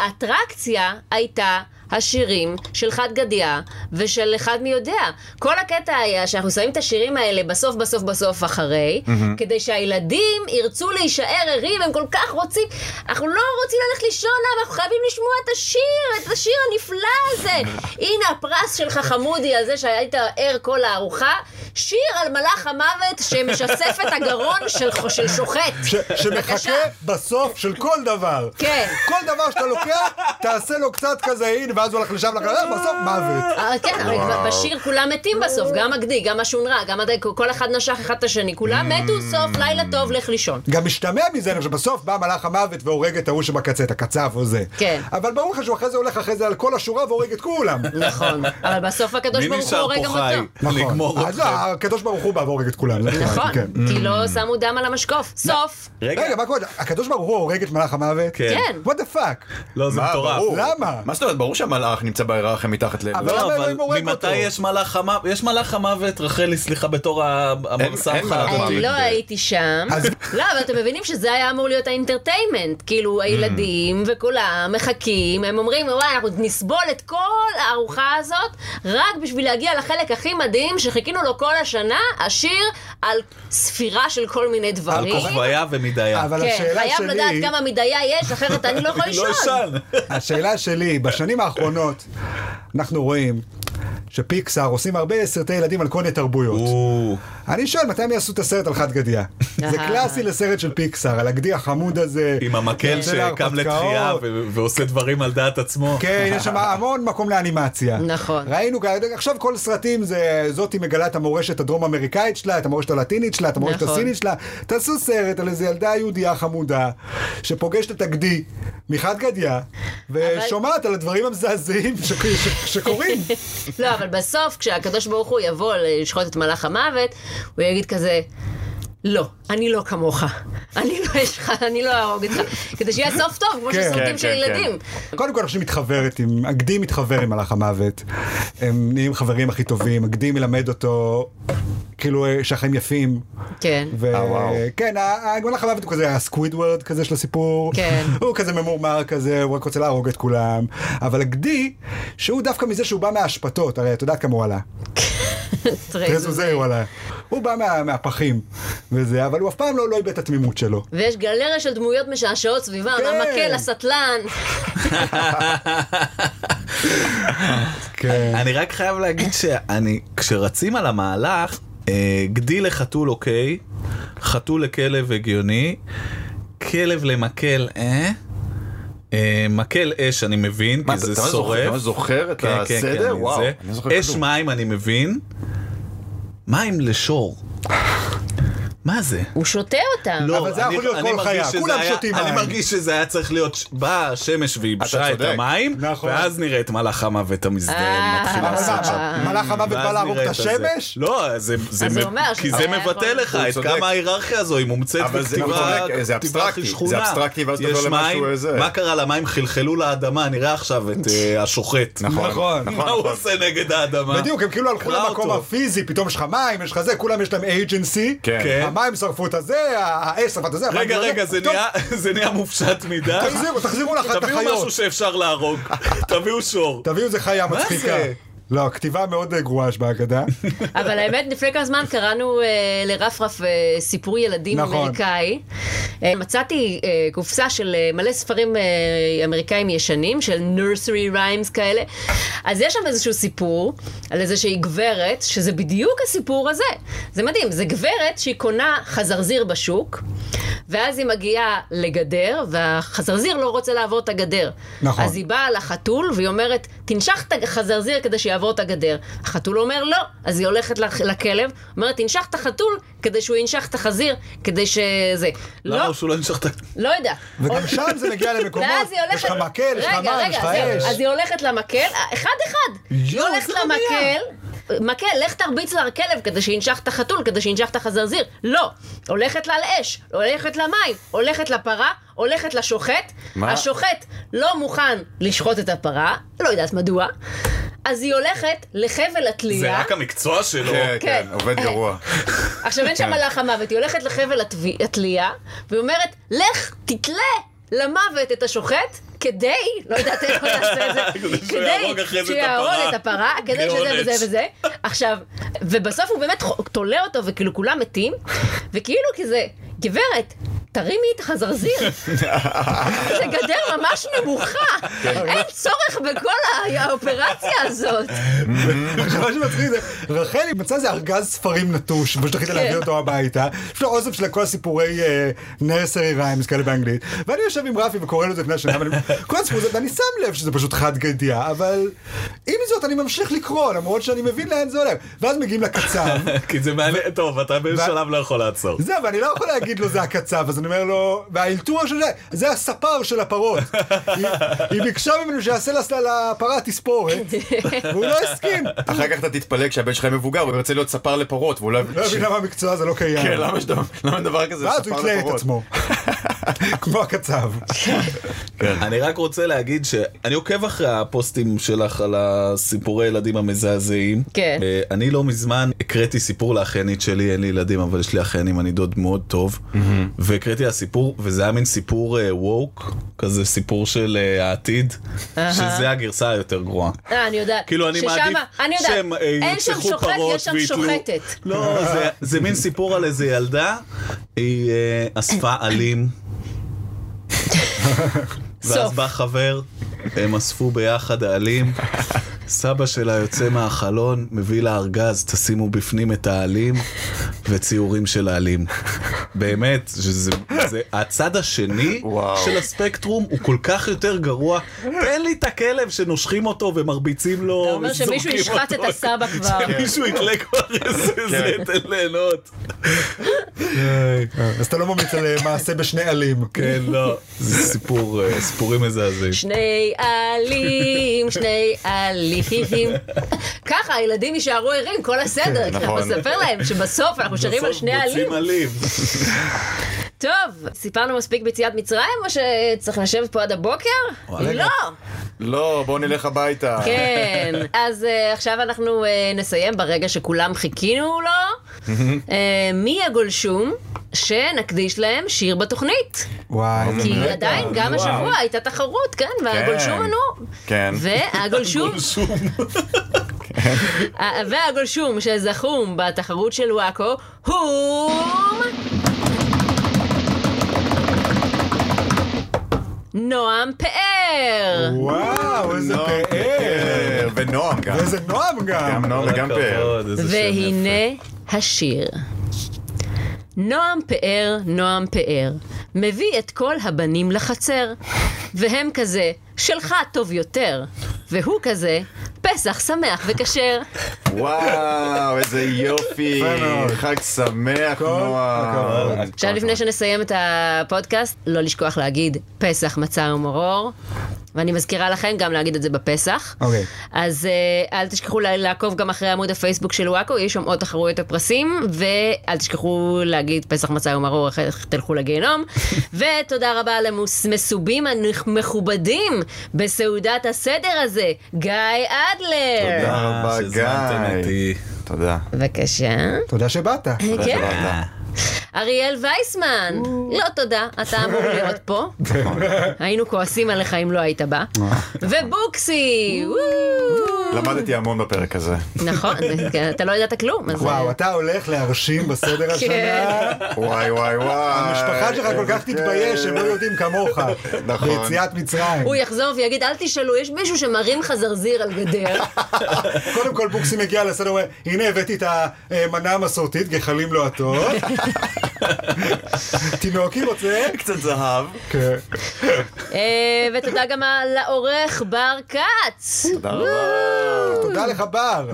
B: האטרקציה הייתה... השירים של חד גדיה ושל אחד מי יודע. כל הקטע היה שאנחנו שמים את השירים האלה בסוף, בסוף, בסוף אחרי, כדי שהילדים ירצו להישאר ערים, הם כל כך רוצים, אנחנו לא רוצים ללכת לישון, אבל אנחנו חייבים לשמוע את השיר, את השיר הנפלא הזה. הנה הפרס שלך, חמודי, על זה שהיית ער כל הארוחה. שיר על מלאך המוות שמשסף את הגרון של, של שוחט.
A: ש- שמחכה
B: בבקשה.
A: בסוף של כל דבר.
B: כן.
A: כל דבר שאתה לוקח, תעשה לו קצת כזה, הנה, ואז הוא הולך לשם, הלך לשם, בסוף מוות.
B: אה, כן, הרי ב- בשיר כולם מתים בסוף, גם הגדי, גם השונרה, גם הדי, כל אחד נשך אחד את השני,
D: Mm.
B: כולם מתו, סוף, לילה טוב, לך לישון.
A: גם משתמע מזה, אני חושב, בסוף בא מלאך המוות והורג את ההוא שבקצה, את הקצב או זה.
B: כן.
A: אבל ברור לך שהוא אחרי זה הולך אחרי זה על כל השורה והורג את כולם.
B: נכון, אבל בסוף הקדוש
D: מי
B: ברוך הוא
D: נשאר
B: הורג
D: פה
B: גם
D: חי?
B: אותו.
D: לגמור
A: אז לא,
D: אתכם.
A: הקדוש ברוך הוא בא והורג את כולם.
B: נכון,
A: כן.
B: כי לא שמו דם על המשקוף. סוף.
A: רגע, מה קורה? הקדוש ברוך הוא הורג את מלאך המוות?
D: כן.
B: כן.
A: וואט דה פאק.
D: לא, זה
C: מה,
D: מטורף.
C: ברור.
A: למה?
C: מה זאת אומרת? ברור שהמלאך נמצא בהיררכיה מתחת ל...
A: אבל-
D: לא,
A: למה
D: אבל
A: אלוהים הורג אותו?
D: ממתי יש מלאך המוות? יש מלאך המוות, רחלי, סליחה, בתור ה-
C: אין
D: המרסמך.
C: מלאך
B: אני
D: הדתי.
C: מוות.
B: לא הייתי שם.
A: אז-
D: כן.
B: לא, אבל אתם מבינים שזה היה אמור להיות האינטרטיימנט.
A: Mm.
B: כאילו, הילדים וכולם מחכים, הם אומרים, וואי, אנחנו נסבול את כל הארוחה הזאת, רק בשביל להגיע לחלק הכי מדהים שחיכינו לו כל השנה, השיר על ספירה של כל מיני
D: על
B: דברים.
D: כוכביה ומדיה.
A: אבל
B: כן,
A: השאלה
B: חייב
A: שלי...
B: לדעת כמה מדיה יש, אחרת אני לא יכול
D: אני לא
B: לישון.
D: אשן.
A: השאלה שלי, בשנים האחרונות אנחנו רואים שפיקסאר עושים הרבה סרטי ילדים על כל מיני תרבויות.
D: או,
A: אני שואל, מתי הם יעשו את הסרט על חד גדיה? זה קלאסי לסרט של פיקסאר, על הגדי החמוד הזה.
D: עם המקל
A: של
D: שקם
A: כן, ההרפתקאות.
D: לתחייה ו- ועושה דברים על דעת עצמו.
A: כן, יש שם המון מקום לאנימציה.
B: נכון.
A: ראינו, גם- עכשיו כל סרטים זה, זאתי מגלה את המורשת הדרום אמריקאית שלה, את המורשת הלטינית שלה, את המורשת
B: נכון.
A: הסינית שלה. תעשו סרט על איזה ילדה יהודייה חמודה, שפוגשת את הגדי מחד גדיה, ושומעת על הדברים המזעזעים ש- ש- שקורים.
B: לא, אבל בסוף, כשהקדוש ברוך הוא יבוא לשחוט את מלאך המוות, הוא יגיד כזה... לא, אני לא כמוך. אני לא אשך, אני לא אהרוג אותך. כדי שיהיה סוף טוב, כמו
A: כן.
B: שסרטים
C: כן,
B: של
C: כן,
B: ילדים.
A: קודם כל, אנשים מתחברת עם, הגדי מתחבר עם מלאך המוות. הם נהיים חברים הכי טובים, הגדי מלמד אותו, כאילו, אה, שהחיים יפים.
B: כן.
A: ו-
C: אה, וואו.
A: כן, ה- ה- מלאך המוות הוא כזה הסקוויד וורד כזה של הסיפור.
B: כן.
A: הוא כזה ממורמר כזה, הוא רק רוצה להרוג את כולם. אבל הגדי, שהוא דווקא מזה שהוא בא מהאשפתות, הרי את יודעת כמה הוא עלה. תראה איזה זה הוא עלה. הוא בא מה- מהפחים וזה, אבל הוא אף פעם לא לא איבד את התמימות שלו.
D: כן.
B: ויש גלריה של דמויות משעשעות סביבם,
A: כן.
B: המקל, הסטלן.
A: כן.
D: אני רק חייב להגיד שאני, כשרצים על המהלך, אה, גדי לחתול אוקיי, חתול לכלב הגיוני, כלב למקל, אה? אה, מקל אש אני מבין,
C: מה,
D: כי זה
C: אתה ממש זוכר- אתה
D: שורף.
C: ממש זוכר את
D: כן, כן, כן,
C: הסדר?
D: אני
C: וואו,
D: זה.
C: אני לא זוכר
D: אש
C: כלום.
D: מים אני מבין, מים לשור. מה זה? לא,
B: הוא שותה אותם.
A: אבל זה
D: אני-
A: יכול להיות
D: אני
A: כל
D: מרגיש
A: חיה,
D: שזה
A: כולם
D: היה-
A: שותים
D: אני
A: מים.
D: מרגיש שזה היה צריך להיות, ש- באה השמש וייבשה את
C: צודק.
D: המים,
A: נכון.
D: ואז נראה את מלאך המוות המזדהם
B: אה.
D: מתחיל
A: אבל
D: לעשות שם.
A: מה, מלאך המוות
D: ואז
A: בא להרוג את
D: נראה הזה.
A: השמש?
D: לא, זה... זה
B: אז
D: מ-
B: הוא אומר
D: כי
B: שזה אה,
D: זה
B: היה
D: מבטא
B: יכול-
D: לך
C: הוא
D: את
C: צודק.
D: כמה ההיררכיה הזו היא מומצאת
C: אבל זה-
D: וכתיבה
C: אבל צודק, זה
D: כתיבה
C: אבסטרקטי, זה
D: כשכונה.
C: אבסטרקטי, ואז אתה
D: יש
C: עולה משהו,
D: מים,
C: איזה-
D: מה קרה למים? חלחלו לאדמה, נראה עכשיו את אה, השוחט.
A: נכון.
D: מה הוא עושה נגד האדמה?
A: בדיוק, הם כאילו הלכו
D: קרא
A: למקום
D: לא. אותו.
A: הפיזי, פתאום יש לך מים, יש לך זה, כולם יש להם אייג'נסי.
C: כן.
D: כן.
A: המים שרפו את הזה, האש שרפה את הזה. המים
D: רגע,
A: שרפה את
D: רגע, זה
A: טוב,
D: נהיה- זה נהיה מופשט מדי.
A: תחזירו, תחזירו לך את
D: תביאו
A: החיות.
D: משהו שאפשר להרוג, תביאו שור.
A: תביאו איזה חיה
D: מה
A: מצחיקה.
D: זה?
A: לא, הכתיבה מאוד אה, גרועה יש בהגדה.
B: אבל האמת, לפני כמה זמן קראנו אה, לרפרף אה, סיפור ילדים
A: נכון.
B: אמריקאי. אה, מצאתי אה, קופסה של אה, מלא ספרים אה, אמריקאים ישנים, של nursery rhymes כאלה. אז יש שם איזשהו סיפור על איזושהי גברת, שזה בדיוק הסיפור הזה. זה מדהים, זה גברת שהיא קונה חזרזיר בשוק, ואז היא מגיעה לגדר, והחזרזיר לא רוצה לעבור את הגדר.
A: נכון.
B: אז היא באה לחתול, והיא אומרת, תנשך את החזרזיר כדי שיעבור את הגדר. החתול אומר, לא. אז היא הולכת לח- לכלב, אומרת, תנשך את החתול כדי שהוא ינשך את החזיר, כדי שזה. לא,
D: למה שהוא לא נשאר את ה...
B: לא יודע.
A: וגם שם זה מגיע למקומות,
B: ואז היא
A: יש
B: הולכת...
A: לך מקל, יש לך
B: רגע,
A: מים, יש
B: רגע,
A: לך
B: אז-
A: אש.
B: אז היא הולכת למקל, אחד-אחד. היא
A: יואו,
B: הולכת
A: זה לא מדויק.
B: למקל. מקל, לך תרביץ לכלב כדי שינשך את החתול, כדי שינשך את החזרזיר. לא. הולכת לה לאש, הולכת למים, הולכת לפרה, הולכת לשוחט.
C: מה?
B: השוחט לא מוכן לשחוט את הפרה, לא יודעת מדוע. אז היא הולכת לחבל התלייה.
D: זה רק המקצוע שלו.
C: כן, כן,
B: כן.
C: עובד גרוע.
B: עכשיו
D: כן.
B: אין שם מלאך המוות, היא הולכת לחבל הטבי- התלייה, והיא אומרת, לך תתלה למוות את השוחט. כדי, לא יודעת איך הוא יעשה את זה,
D: כדי שהוא יהרוג אחרי זה את
B: שיהרוג
D: הפרה.
B: את הפרה, כדי שזה
D: מעונש.
B: וזה וזה. עכשיו, ובסוף הוא באמת חו- תולה אותו וכאילו כולם מתים, וכאילו כזה, גברת, תרימי את החזרזיר. זה גדר ממש נמוכה,
D: כן.
B: אין צורך בכל ה- האופרציה הזאת.
A: עכשיו, מה שמצחיק זה, רחלי מצאה איזה ארגז ספרים נטוש, פשוט
B: כן.
A: החליטה להביא אותו הביתה. יש לו אוסף של כל הסיפורי נרסרי ריימס כאלה באנגלית. ואני יושב עם רפי וקורא לו את זה לפני השנה, ואני- כל הסיפור הזה, ואני שם לב שזה פשוט חד גדיה, אבל עם זאת אני ממשיך לקרוא, למרות שאני מבין לאן זה הולך. ואז מגיעים לקצב.
D: כי זה מעניין, טוב, אתה באיזה שלב לא יכול לעצור.
A: זהו, ואני לא יכול להגיד לו זה הקצב, אז אני אומר לו, והאלתור של זה, זה הספר של הפרות. היא, היא ביקשה ממנו שיעשה לה- לפרה תספורת, והוא לא הסכים.
C: אחר כך אתה תתפלא כשהבן שלך יהיה מבוגר, הוא ירצה להיות ספר לפרות, והוא לא
A: לא מבין למה המקצוע הזה לא קיים.
C: כן, למה יש דבר- למה דבר כזה
A: ואז הוא
C: ספר
A: יתלה את
C: לפרות?
A: עצמו. כמו הקצב.
D: אני רק רוצה להגיד שאני עוקב אחרי הפוסטים שלך על הסיפורי ילדים המזעזעים.
B: כן.
D: אה, אני לא מזמן הקראתי סיפור לאחיינית שלי, אין לי ילדים, אבל יש לי אחיינים, אני דוד מאוד טוב. והקראתי לה סיפור, וזה היה מין סיפור ווק, כזה סיפור של אה, העתיד, שזה הגרסה היותר גרועה.
B: אה, אני יודעת.
D: כאילו אני
B: ששמה-
D: מעדיף
B: אני יודעת.
D: שהם אה,
B: אין שם
D: ירצחו
B: שוחט,
D: פרות
B: יש שם
D: ויתלו.
B: שוחטת.
D: לא, זה- זה מין סיפור על איזה ילדה, היא אה, אספה עלים. ואז
B: סוף.
D: בא חבר, הם אספו ביחד העלים. סבא שלה יוצא מהחלון, מביא לה ארגז, תשימו בפנים את העלים וציורים של העלים. באמת, שזה, זה, הצד השני
C: וואו.
D: של הספקטרום הוא כל כך יותר גרוע. תן לי את הכלב שנושכים אותו ומרביצים לו,
B: אתה אומר שמישהו
D: זורקים
B: ישחט
D: אותו. כן.
B: את הסבא כבר.
D: שמישהו יתלה כבר איזה זה, תן ליהנות.
C: אה.
A: אז אתה לא ממליץ על אה, מעשה בשני עלים.
D: כן, לא. זה סיפור, אה, סיפורים מזעזעים.
B: שני עלים, שני עלים. ככה הילדים יישארו ערים כל הסדר, כי אנחנו
C: נכון.
B: נספר להם שבסוף אנחנו שרים על שני
D: כן, בסוף
B: עלים.
D: מוצאים עלים.
B: טוב, סיפרנו מספיק ביציאת מצרים, או שצריך לשבת פה עד הבוקר?
D: וואלה.
B: לא.
C: לא, בואו נלך הביתה.
B: כן. אז אה, עכשיו אנחנו אה, נסיים ברגע שכולם חיכינו לו. אה, מי הגולשום שנקדיש להם שיר בתוכנית?
A: וואי,
C: כן.
A: זה
B: כי
A: מרגע.
B: עדיין, גם השבוע הייתה תחרות, כן, והגולשום ענו.
C: כן.
B: והגולשום, אה, והגולשום שזכו בתחרות של וואקו, הוא... נועם פאר!
A: וואו, איזה
C: נועם
A: פאר.
C: פאר, ונועם גם.
A: ואיזה נועם גם.
C: לא, גם נועם וגם פאר.
D: הכבוד, איזה שם יפה.
B: והנה השיר. נועם פאר, נועם פאר, מביא את כל הבנים לחצר, והם כזה, שלך טוב יותר, והוא כזה, פסח שמח וכשר.
C: וואו, איזה יופי.
A: יפה מאוד.
C: חג שמח, נועם.
A: הכבוד.
B: עכשיו לפני שנסיים את הפודקאסט, לא לשכוח להגיד פסח, מצה ומרור. ואני מזכירה לכם גם להגיד את זה בפסח.
A: אוקיי.
B: אז אה, אל תשכחו לה- לעקוב גם אחרי עמוד הפייסבוק של וואקו, יש שם עוד תחרויות הפרסים, ואל תשכחו להגיד פסח מצה ומרור, אחרי זה תלכו לגיהנום. ותודה רבה למסובים המכובדים בסעודת הסדר הזה, גיא אדלר.
C: תודה רבה,
D: שהזמנתם
C: גיא.
D: אותי.
C: תודה.
B: בבקשה.
A: תודה שבאת.
C: תודה
B: כן.
C: שבאת.
B: אריאל וייסמן, לא תודה, אתה אמור להיות פה. היינו כועסים עליך אם לא היית בא. ובוקסי, וואו.
C: למדתי המון בפרק הזה.
B: נכון, כן, אתה לא ידעת כלום. אז-
A: וואו, אתה הולך להרשים בסדר השנה.
C: וואי וואי וואי. כן.
A: המשפחה שלך כל כך
C: איזה
A: תתבייש, הם לא
C: כיף.
A: יודעים כמוך.
C: נכון.
A: ביציאת מצרים.
B: הוא יחזור ויגיד, אל תשאלו, יש מישהו שמרים חזרזיר על גדר.
A: קודם כל בוקסי מגיע לסדר, הוא אומר, הנה הבאתי את המנה המסורתית, גחלים לא עטות. תינוקי רוצה?
C: קצת זהב.
A: כן.
B: אה, ותודה גם לעורך בר כץ.
C: תודה רבה.
A: תודה לך בר.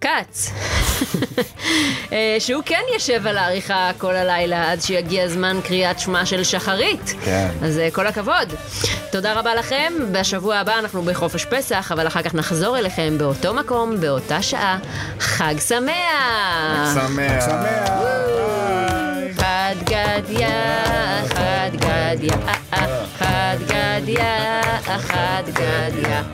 B: כץ. אה, שהוא כן יושב על העריכה כל הלילה עד שיגיע זמן קריאת שמע של שחרית.
C: כן.
B: אז אה, כל הכבוד. תודה רבה לכם. בשבוע הבא אנחנו בחופש פסח, אבל אחר כך נחזור אליכם באותו מקום, באותה שעה. חג שמח!
C: שמח.
A: שמח. ביי.
B: חד גדיא, חד גדיא, חד גדיא, חד גדיא.